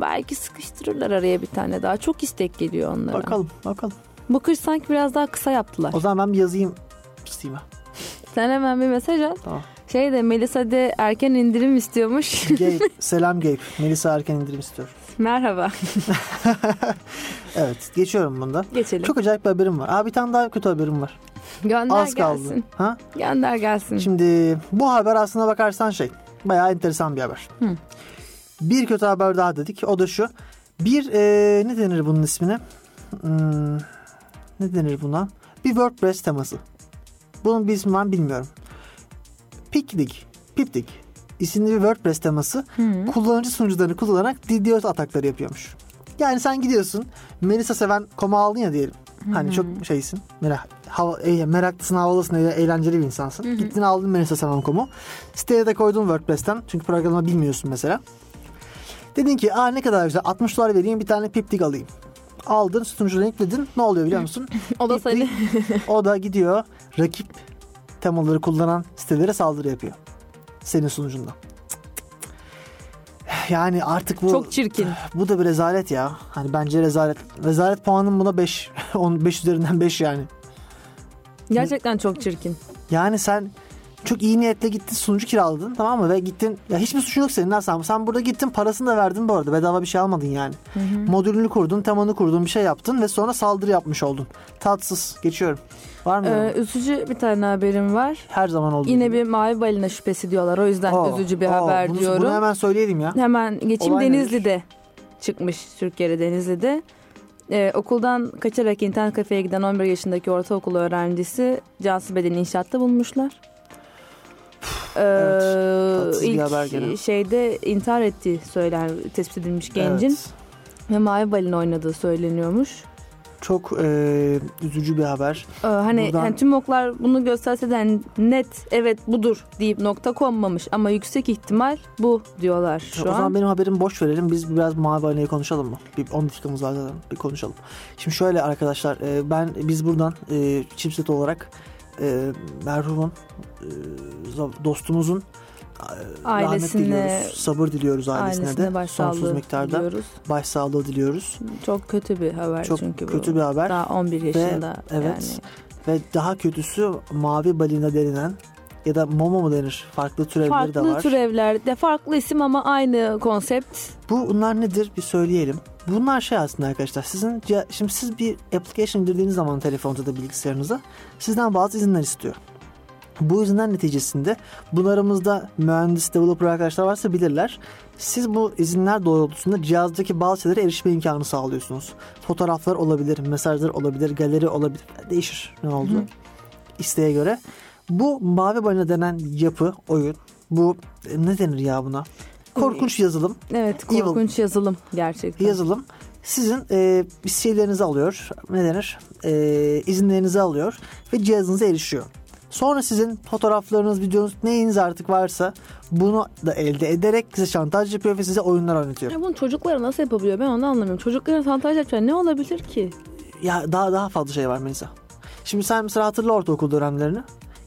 Speaker 4: belki sıkıştırırlar araya bir tane daha. Çok istek geliyor onlara.
Speaker 3: Bakalım bakalım.
Speaker 4: Bu kış sanki biraz daha kısa yaptılar.
Speaker 3: O zaman ben bir yazayım Steam'e.
Speaker 4: Sen hemen bir mesaj at.
Speaker 3: Tamam.
Speaker 4: Şey de Melisa de erken indirim istiyormuş.
Speaker 3: Gabe, selam Gabe. Melisa erken indirim istiyor.
Speaker 4: Merhaba.
Speaker 3: Evet, geçiyorum bunda.
Speaker 4: Geçelim.
Speaker 3: Çok acayip bir haberim var. Aa, bir tane daha kötü haberim var.
Speaker 4: Gönder
Speaker 3: Az
Speaker 4: gelsin.
Speaker 3: kaldı. Ha?
Speaker 4: Gönder gelsin.
Speaker 3: Şimdi bu haber aslında bakarsan şey, bayağı enteresan bir haber.
Speaker 4: Hı.
Speaker 3: Bir kötü haber daha dedik. O da şu. Bir e, ne denir bunun ismine? Hmm, ne denir buna? Bir WordPress teması. Bunun bir ismi var mı bilmiyorum. Pikdik, Pipdik isimli bir WordPress teması
Speaker 4: Hı.
Speaker 3: kullanıcı sunucularını kullanarak DDoS atakları yapıyormuş. Yani sen gidiyorsun Melisa seven koma aldın ya diyelim. Hani çok şeysin. Merak, hava, e, meraklısın, havalısın, e- eğlenceli bir insansın. Gittin aldın Melisa seven komu. Siteye de koydun WordPress'ten. Çünkü programı bilmiyorsun mesela. Dedin ki aa ne kadar güzel 60 dolar vereyim bir tane piptik alayım. Aldın sunucudan yükledin. Ne oluyor biliyor musun?
Speaker 4: O da
Speaker 3: Piptik-
Speaker 4: seni
Speaker 3: o da gidiyor rakip temaları kullanan sitelere saldırı yapıyor. Senin sunucunda. Yani artık bu
Speaker 4: çok çirkin.
Speaker 3: bu da bir rezalet ya. Hani bence rezalet. Rezalet puanım buna 5. 5 üzerinden 5 yani.
Speaker 4: Gerçekten çok çirkin.
Speaker 3: Yani sen çok iyi niyetle gittin sunucu kiraladın tamam mı ve gittin ya hiçbir suçun yok senin sen, sen burada gittin parasını da verdin bu arada bedava bir şey almadın yani. Modülünü kurdun temanı kurdun bir şey yaptın ve sonra saldırı yapmış oldun. Tatsız geçiyorum. Var mı?
Speaker 4: Ee,
Speaker 3: yorum?
Speaker 4: üzücü bir tane haberim var.
Speaker 3: Her zaman olduğu
Speaker 4: Yine
Speaker 3: gibi.
Speaker 4: bir mavi balina şüphesi diyorlar. O yüzden
Speaker 3: Oo,
Speaker 4: üzücü bir
Speaker 3: oo,
Speaker 4: haber
Speaker 3: bunu,
Speaker 4: diyorum.
Speaker 3: Bunu
Speaker 4: hemen...
Speaker 3: hemen söyleyelim ya.
Speaker 4: geçeyim.
Speaker 3: Olay nedir?
Speaker 4: Denizli'de çıkmış Türkiye'de Denizli'de. Ee, okuldan kaçarak internet kafeye giden 11 yaşındaki ortaokul öğrencisi Cansu Beden'i inşaatta bulmuşlar. Ee,
Speaker 3: tatsız bir
Speaker 4: ilk
Speaker 3: haber gene.
Speaker 4: şeyde intihar ettiği söyler tespit edilmiş gencin
Speaker 3: Evet.
Speaker 4: ve mavi balina oynadığı söyleniyormuş.
Speaker 3: Çok e, üzücü bir haber.
Speaker 4: Ee, hani,
Speaker 3: Buradan-
Speaker 4: hani tüm oklar bunu gösterse de hani net evet budur deyip nokta konmamış ama yüksek ihtimal bu diyorlar şu
Speaker 3: o
Speaker 4: an.
Speaker 3: zaman benim haberimi boş verelim. Biz biraz mavi balinayı konuşalım mı? Bir 10 dakikamız var zaten. Bir konuşalım. Şimdi şöyle arkadaşlar. e, ben biz buradan e, Chipset olarak e, merhumun e, za- dostumuzun rahmet
Speaker 4: ailesine
Speaker 3: diliyoruz. Sabır diliyoruz ailesine,
Speaker 4: ailesine
Speaker 3: de. Sonsuz
Speaker 4: başsağlığı
Speaker 3: miktarda
Speaker 4: diliyoruz.
Speaker 3: başsağlığı diliyoruz.
Speaker 4: Çok kötü bir haber
Speaker 3: Çok
Speaker 4: çünkü bu.
Speaker 3: kötü bir haber.
Speaker 4: Daha 11 yaşında
Speaker 3: evet. Ve daha kötüsü mavi balina denilen ya da momo mu denir? Farklı türevleri
Speaker 4: yani.
Speaker 3: de var.
Speaker 4: Farklı türevler de farklı isim ama aynı konsept.
Speaker 3: Bu bunlar nedir bir söyleyelim. Bunlar şey aslında arkadaşlar sizin ya- şimdi siz bir application girdiğiniz zaman telefonunuza da bilgisayarınıza sizden bazı izinler istiyor. Bu yüzden neticesinde bunlarımızda mühendis, developer arkadaşlar varsa bilirler. Siz bu izinler doğrultusunda cihazdaki bazı şeylere erişme imkanı sağlıyorsunuz. Fotoğraflar olabilir, mesajlar olabilir, galeri olabilir. Değişir ne oldu isteğe göre. Bu mavi balina denen yapı, oyun, bu e, ne denir ya buna? Korkunç yazılım
Speaker 4: Evet
Speaker 3: Evil.
Speaker 4: korkunç yazılım gerçekten.
Speaker 3: yazılım sizin e, şeylerinizi alıyor. Ne denir? E, izinlerinizi alıyor ve cihazınıza erişiyor. Sonra sizin fotoğraflarınız, videonuz neyiniz artık varsa bunu da elde ederek size şantaj yapıyor ve size oyunlar oynatıyor.
Speaker 4: Ya bunu çocuklara nasıl yapabiliyor ben onu anlamıyorum. Çocuklara santaj yapacak ne olabilir ki?
Speaker 3: Ya daha daha fazla şey var Melisa. Şimdi sen mesela hatırla ortaokul dönemlerini.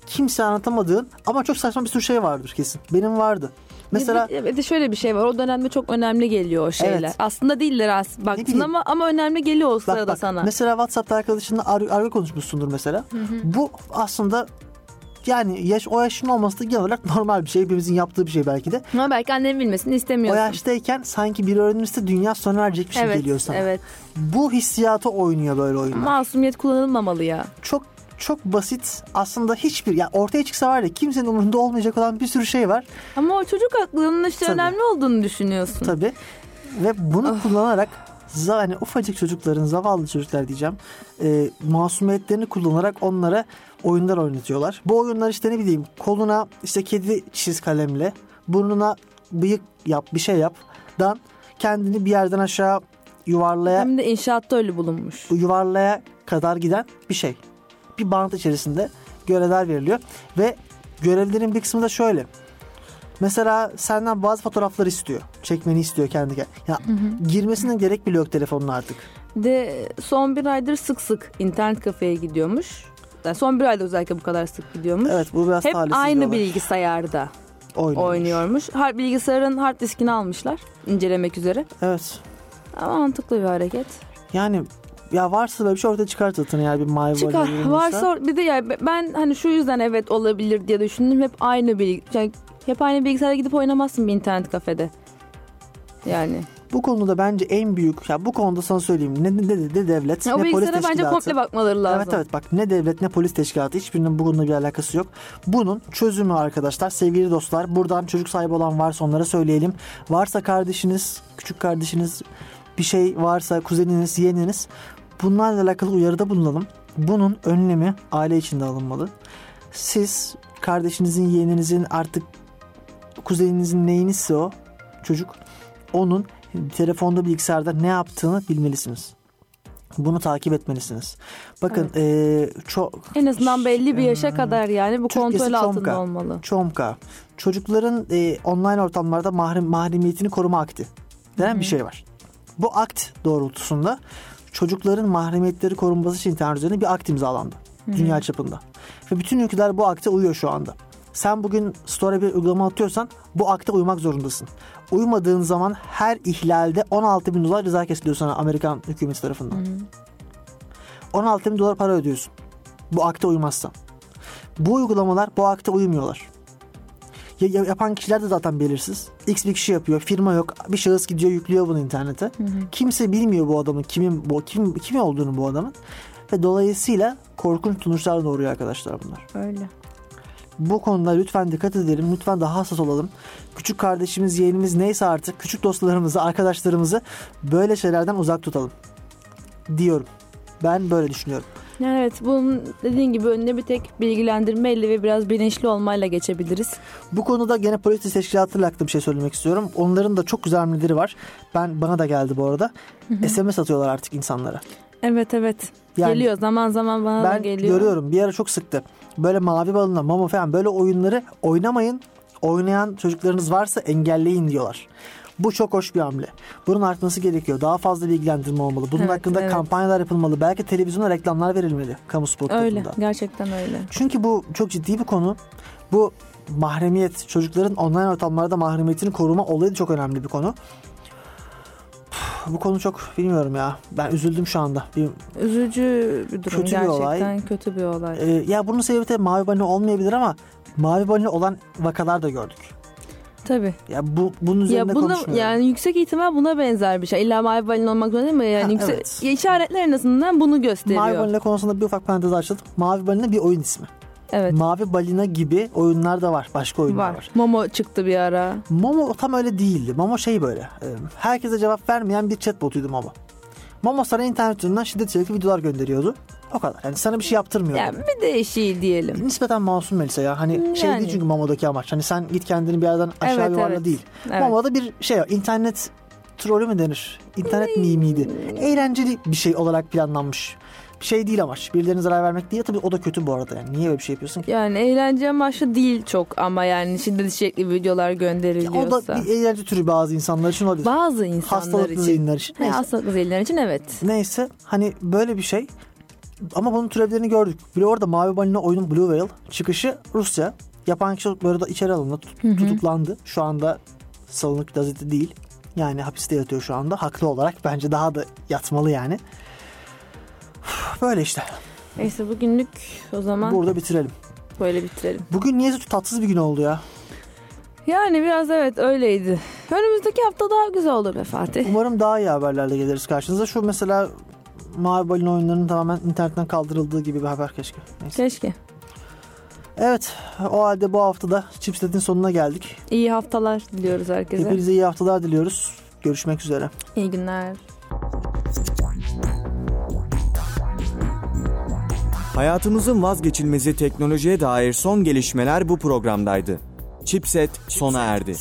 Speaker 3: Kimse anlatamadığın ama çok saçma bir sürü şey vardır kesin. Benim vardı. Mesela
Speaker 4: Bir- bir de şöyle bir şey var. O dönemde çok önemli geliyor o şeyler.
Speaker 3: Evet.
Speaker 4: Aslında değiller aslında baktın
Speaker 3: bileyim.
Speaker 4: ama ama önemli geliyor o
Speaker 3: Bak,
Speaker 4: sırada
Speaker 3: bak,
Speaker 4: sana.
Speaker 3: Mesela WhatsApp'ta arkadaşınla ar- argo konuşmuşsundur mesela. Bu aslında yani yaş o yaşın olması da genel olarak normal bir şey. Hepimizin yaptığı bir şey belki de.
Speaker 4: Ama belki annem bilmesini
Speaker 3: O
Speaker 4: istemiyorsun.
Speaker 3: yaştayken sanki biri öğrenirse dünya sona erecekmiş gibi
Speaker 4: evet,
Speaker 3: geliyor sana.
Speaker 4: evet.
Speaker 3: Bu hissiyatı oynuyor böyle oyunlar.
Speaker 4: Masumiyet kullanılmamalı ya.
Speaker 3: Çok çok basit aslında hiçbir ya ortaya çıksa var ya kimsenin umurunda olmayacak olan bir sürü şey var
Speaker 4: Ama o çocuk aklının işte
Speaker 3: Tabii.
Speaker 4: önemli olduğunu düşünüyorsun.
Speaker 3: tabi ve bunu kullanarak za- hani ufacık çocukların zavallı çocuklar diyeceğim e, masumiyetlerini kullanarak onlara oyunlar oynatıyorlar. Bu oyunlar işte ne bileyim koluna işte kedi çiz kalemle burnuna bıyık yap bir şey yap dan kendini bir yerden aşağı yuvarlaya
Speaker 4: Hem de inşaatta öyle bulunmuş.
Speaker 3: bu yuvarlaya kadar giden bir şey. Bir bant içerisinde görevler veriliyor ve görevlerin bir kısmı da şöyle. Mesela senden bazı fotoğrafları istiyor. Çekmeni istiyor kendi ke- Ya girmesine gerek bile yok telefonun artık.
Speaker 4: De son bir aydır sık sık internet kafeye gidiyormuş. Yani son bir ayda özellikle bu kadar sık gidiyormuş.
Speaker 3: Evet bu biraz
Speaker 4: Hep
Speaker 3: talihsiz bir
Speaker 4: aynı
Speaker 3: olay.
Speaker 4: bilgisayarda
Speaker 3: Oynuyormuş.
Speaker 4: oynuyormuş. Har bilgisayarın hard diskini almışlar incelemek üzere.
Speaker 3: Evet.
Speaker 4: Ama mantıklı bir hareket.
Speaker 3: Yani ya varsa böyle bir şey ortaya çıkart zaten eğer bir mavi
Speaker 4: Çıkar.
Speaker 3: balon bulunursa.
Speaker 4: Varsa ah, bir de ya ben hani şu yüzden evet olabilir diye düşündüm. Hep aynı bilgi yani hep aynı bilgisayara gidip oynamazsın bir internet kafede. Yani.
Speaker 3: Bu konuda bence en büyük ya bu konuda sana söyleyeyim ne, ne, ne, ne devlet
Speaker 4: o
Speaker 3: ne polis
Speaker 4: bilgisayara bence
Speaker 3: teşkilatı.
Speaker 4: komple bakmaları lazım.
Speaker 3: Evet evet bak ne devlet ne polis teşkilatı hiçbirinin bu konuda bir alakası yok. Bunun çözümü arkadaşlar sevgili dostlar buradan çocuk sahibi olan varsa onlara söyleyelim. Varsa kardeşiniz küçük kardeşiniz bir şey varsa kuzeniniz yeğeniniz bunlarla alakalı uyarıda bulunalım. Bunun önlemi aile içinde alınmalı. Siz kardeşinizin yeğeninizin artık kuzeninizin neyinizse o çocuk onun telefonda bilgisayarda ne yaptığını bilmelisiniz. Bunu takip etmelisiniz. Bakın eee, çok
Speaker 4: En azından belli bir yaşa kadar yani bu
Speaker 3: Türkçesi
Speaker 4: kontrol altında
Speaker 3: çomka.
Speaker 4: olmalı.
Speaker 3: çomka çocukların eee, online ortamlarda mahrem mahremiyetini koruma akti denen bir şey var. Bu akt doğrultusunda çocukların mahremiyetleri korunması için internet üzerinde bir akt imzalandı. Dünya çapında. Ve bütün ülkeler bu akte uyuyor şu anda. Sen bugün store'a bir uygulama atıyorsan bu akte uymak zorundasın. Uymadığın zaman her ihlalde 16 bin dolar ceza kesiliyor sana Amerikan hükümeti tarafından. 16 bin dolar para ödüyorsun. Bu akte uymazsan. Bu uygulamalar bu akte uymuyorlar. Ya- ya- yapan kişiler de zaten belirsiz. X bir kişi yapıyor, firma yok. Bir şahıs gidiyor, yüklüyor bunu internete. Kimse bilmiyor bu adamın kimin bu kim kim olduğunu bu adamın. Ve dolayısıyla korkunç sonuçlar doğuruyor arkadaşlar bunlar.
Speaker 4: Öyle.
Speaker 3: Bu konuda lütfen dikkat edelim. Lütfen daha hassas olalım. Küçük kardeşimiz, yeğenimiz neyse artık küçük dostlarımızı, arkadaşlarımızı böyle şeylerden uzak tutalım. Diyorum. Ben böyle düşünüyorum.
Speaker 4: Yani evet bunun dediğin gibi önüne bir tek bilgilendirmeyle ve biraz bilinçli olmayla geçebiliriz.
Speaker 3: Bu konuda gene polis teşkilatıyla alakalı bir şey söylemek istiyorum. Onların da çok güzel müdürleri var. Ben bana da geldi bu arada. SMS atıyorlar artık insanlara.
Speaker 4: Evet evet.
Speaker 3: Yani
Speaker 4: geliyor zaman zaman bana da
Speaker 3: Ben
Speaker 4: geliyor.
Speaker 3: görüyorum bir ara çok sıktı. Böyle mavi balına, mama falan böyle oyunları oynamayın. Oynayan çocuklarınız varsa engelleyin diyorlar. Bu çok hoş bir hamle. Bunun artması gerekiyor. Daha fazla bilgilendirme olmalı. Bunun
Speaker 4: Evet,
Speaker 3: hakkında
Speaker 4: evet.
Speaker 3: kampanyalar yapılmalı. Belki televizyona reklamlar verilmeli kamu spor
Speaker 4: Öyle
Speaker 3: toplumunda.
Speaker 4: gerçekten öyle.
Speaker 3: Çünkü bu çok ciddi bir konu. Bu mahremiyet, çocukların online ortamlarda mahremiyetini koruma olayı da çok önemli bir konu. Puh, Bu konu çok bilmiyorum ya. Ben üzüldüm şu anda. Bir,
Speaker 4: Üzücü bir durum
Speaker 3: Kötü bir
Speaker 4: gerçekten
Speaker 3: olay.
Speaker 4: kötü bir olay.
Speaker 3: e, ya bunun sebebi de mavi balina olmayabilir ama mavi balina olan vakalar da gördük.
Speaker 4: Tabii.
Speaker 3: Ya bu bunun üzerine
Speaker 4: Ya buna
Speaker 3: konuşmuyorum.
Speaker 4: yani yüksek ihtimal buna benzer bir şey. İlla mavi balin olmak zorunda değil mi? Yani
Speaker 3: Ha,
Speaker 4: yüksek
Speaker 3: evet.
Speaker 4: Ya işaretler en azından bunu gösteriyor.
Speaker 3: Mavi balina konusunda bir ufak parantez açtım. Mavi balina bir oyun ismi.
Speaker 4: Evet.
Speaker 3: Mavi balina gibi oyunlar da var. Başka oyunlar var.
Speaker 4: Var. Momo çıktı bir ara.
Speaker 3: Momo tam öyle değildi. Momo şey böyle. e, Herkese cevap vermeyen bir chatbotuydu Momo. Momo sana internet üzerinden şiddet içerikli videolar gönderiyordu. O kadar. Yani sana bir şey yaptırmıyordu.
Speaker 4: Yani bir değişiği diyelim.
Speaker 3: Nispeten masum Melisa ya. Hani şey
Speaker 4: Yani.
Speaker 3: değil çünkü Momo'daki amaç. Hani sen git kendini bir yerden aşağı
Speaker 4: Evet,
Speaker 3: yuvarla
Speaker 4: evet.
Speaker 3: değil.
Speaker 4: Evet.
Speaker 3: Momo'da bir şey var. İnternet trolü mü denir? İnternet mimiydi. Eğlenceli bir şey olarak planlanmış. Bir şey değil amaç. Birilerine zarar vermek değil. Tabii o da kötü bu arada. Yani niye böyle bir şey yapıyorsun ki?
Speaker 4: Yani eğlence amaçlı değil çok ama yani şiddet içerikli videolar
Speaker 3: o
Speaker 4: gönderiliyorsa.
Speaker 3: da bir eğlence türü bazı insanlar için olabilir.
Speaker 4: Bazı insanlar
Speaker 3: Hastalıklı
Speaker 4: için.
Speaker 3: zihinler için.
Speaker 4: Ne,
Speaker 3: Neyse.
Speaker 4: hastalıklı zihinler için evet.
Speaker 3: Neyse hani böyle bir şey. Ama bunun türevlerini gördük. Bir orada Mavi Balina oyunun Blue Whale çıkışı Rusya. Yapan kişi bu arada içeri alındı, tut- tutuklandı. Şu anda salınık gazete değil. Yani hapiste yatıyor şu anda. Haklı olarak bence daha da yatmalı yani. Üf, Böyle işte.
Speaker 4: Neyse bugünlük o zaman
Speaker 3: Burada bitirelim.
Speaker 4: böyle bitirelim.
Speaker 3: Bugün niye tatsız bir gün oldu ya?
Speaker 4: Yani biraz evet öyleydi. Önümüzdeki hafta daha güzel olur be Fatih.
Speaker 3: Umarım daha iyi haberlerle geliriz karşınıza. Şu mesela Mavi Balina oyunlarının tamamen internetten kaldırıldığı gibi bir haber keşke. Neyse.
Speaker 4: Keşke.
Speaker 3: Evet o halde bu haftada Chipset'in sonuna geldik.
Speaker 4: İyi haftalar diliyoruz herkese.
Speaker 3: Hepinize iyi haftalar diliyoruz. Görüşmek üzere.
Speaker 4: İyi günler.
Speaker 1: Hayatımızın vazgeçilmezi teknolojiye dair son gelişmeler bu programdaydı. Chipset sona erdi.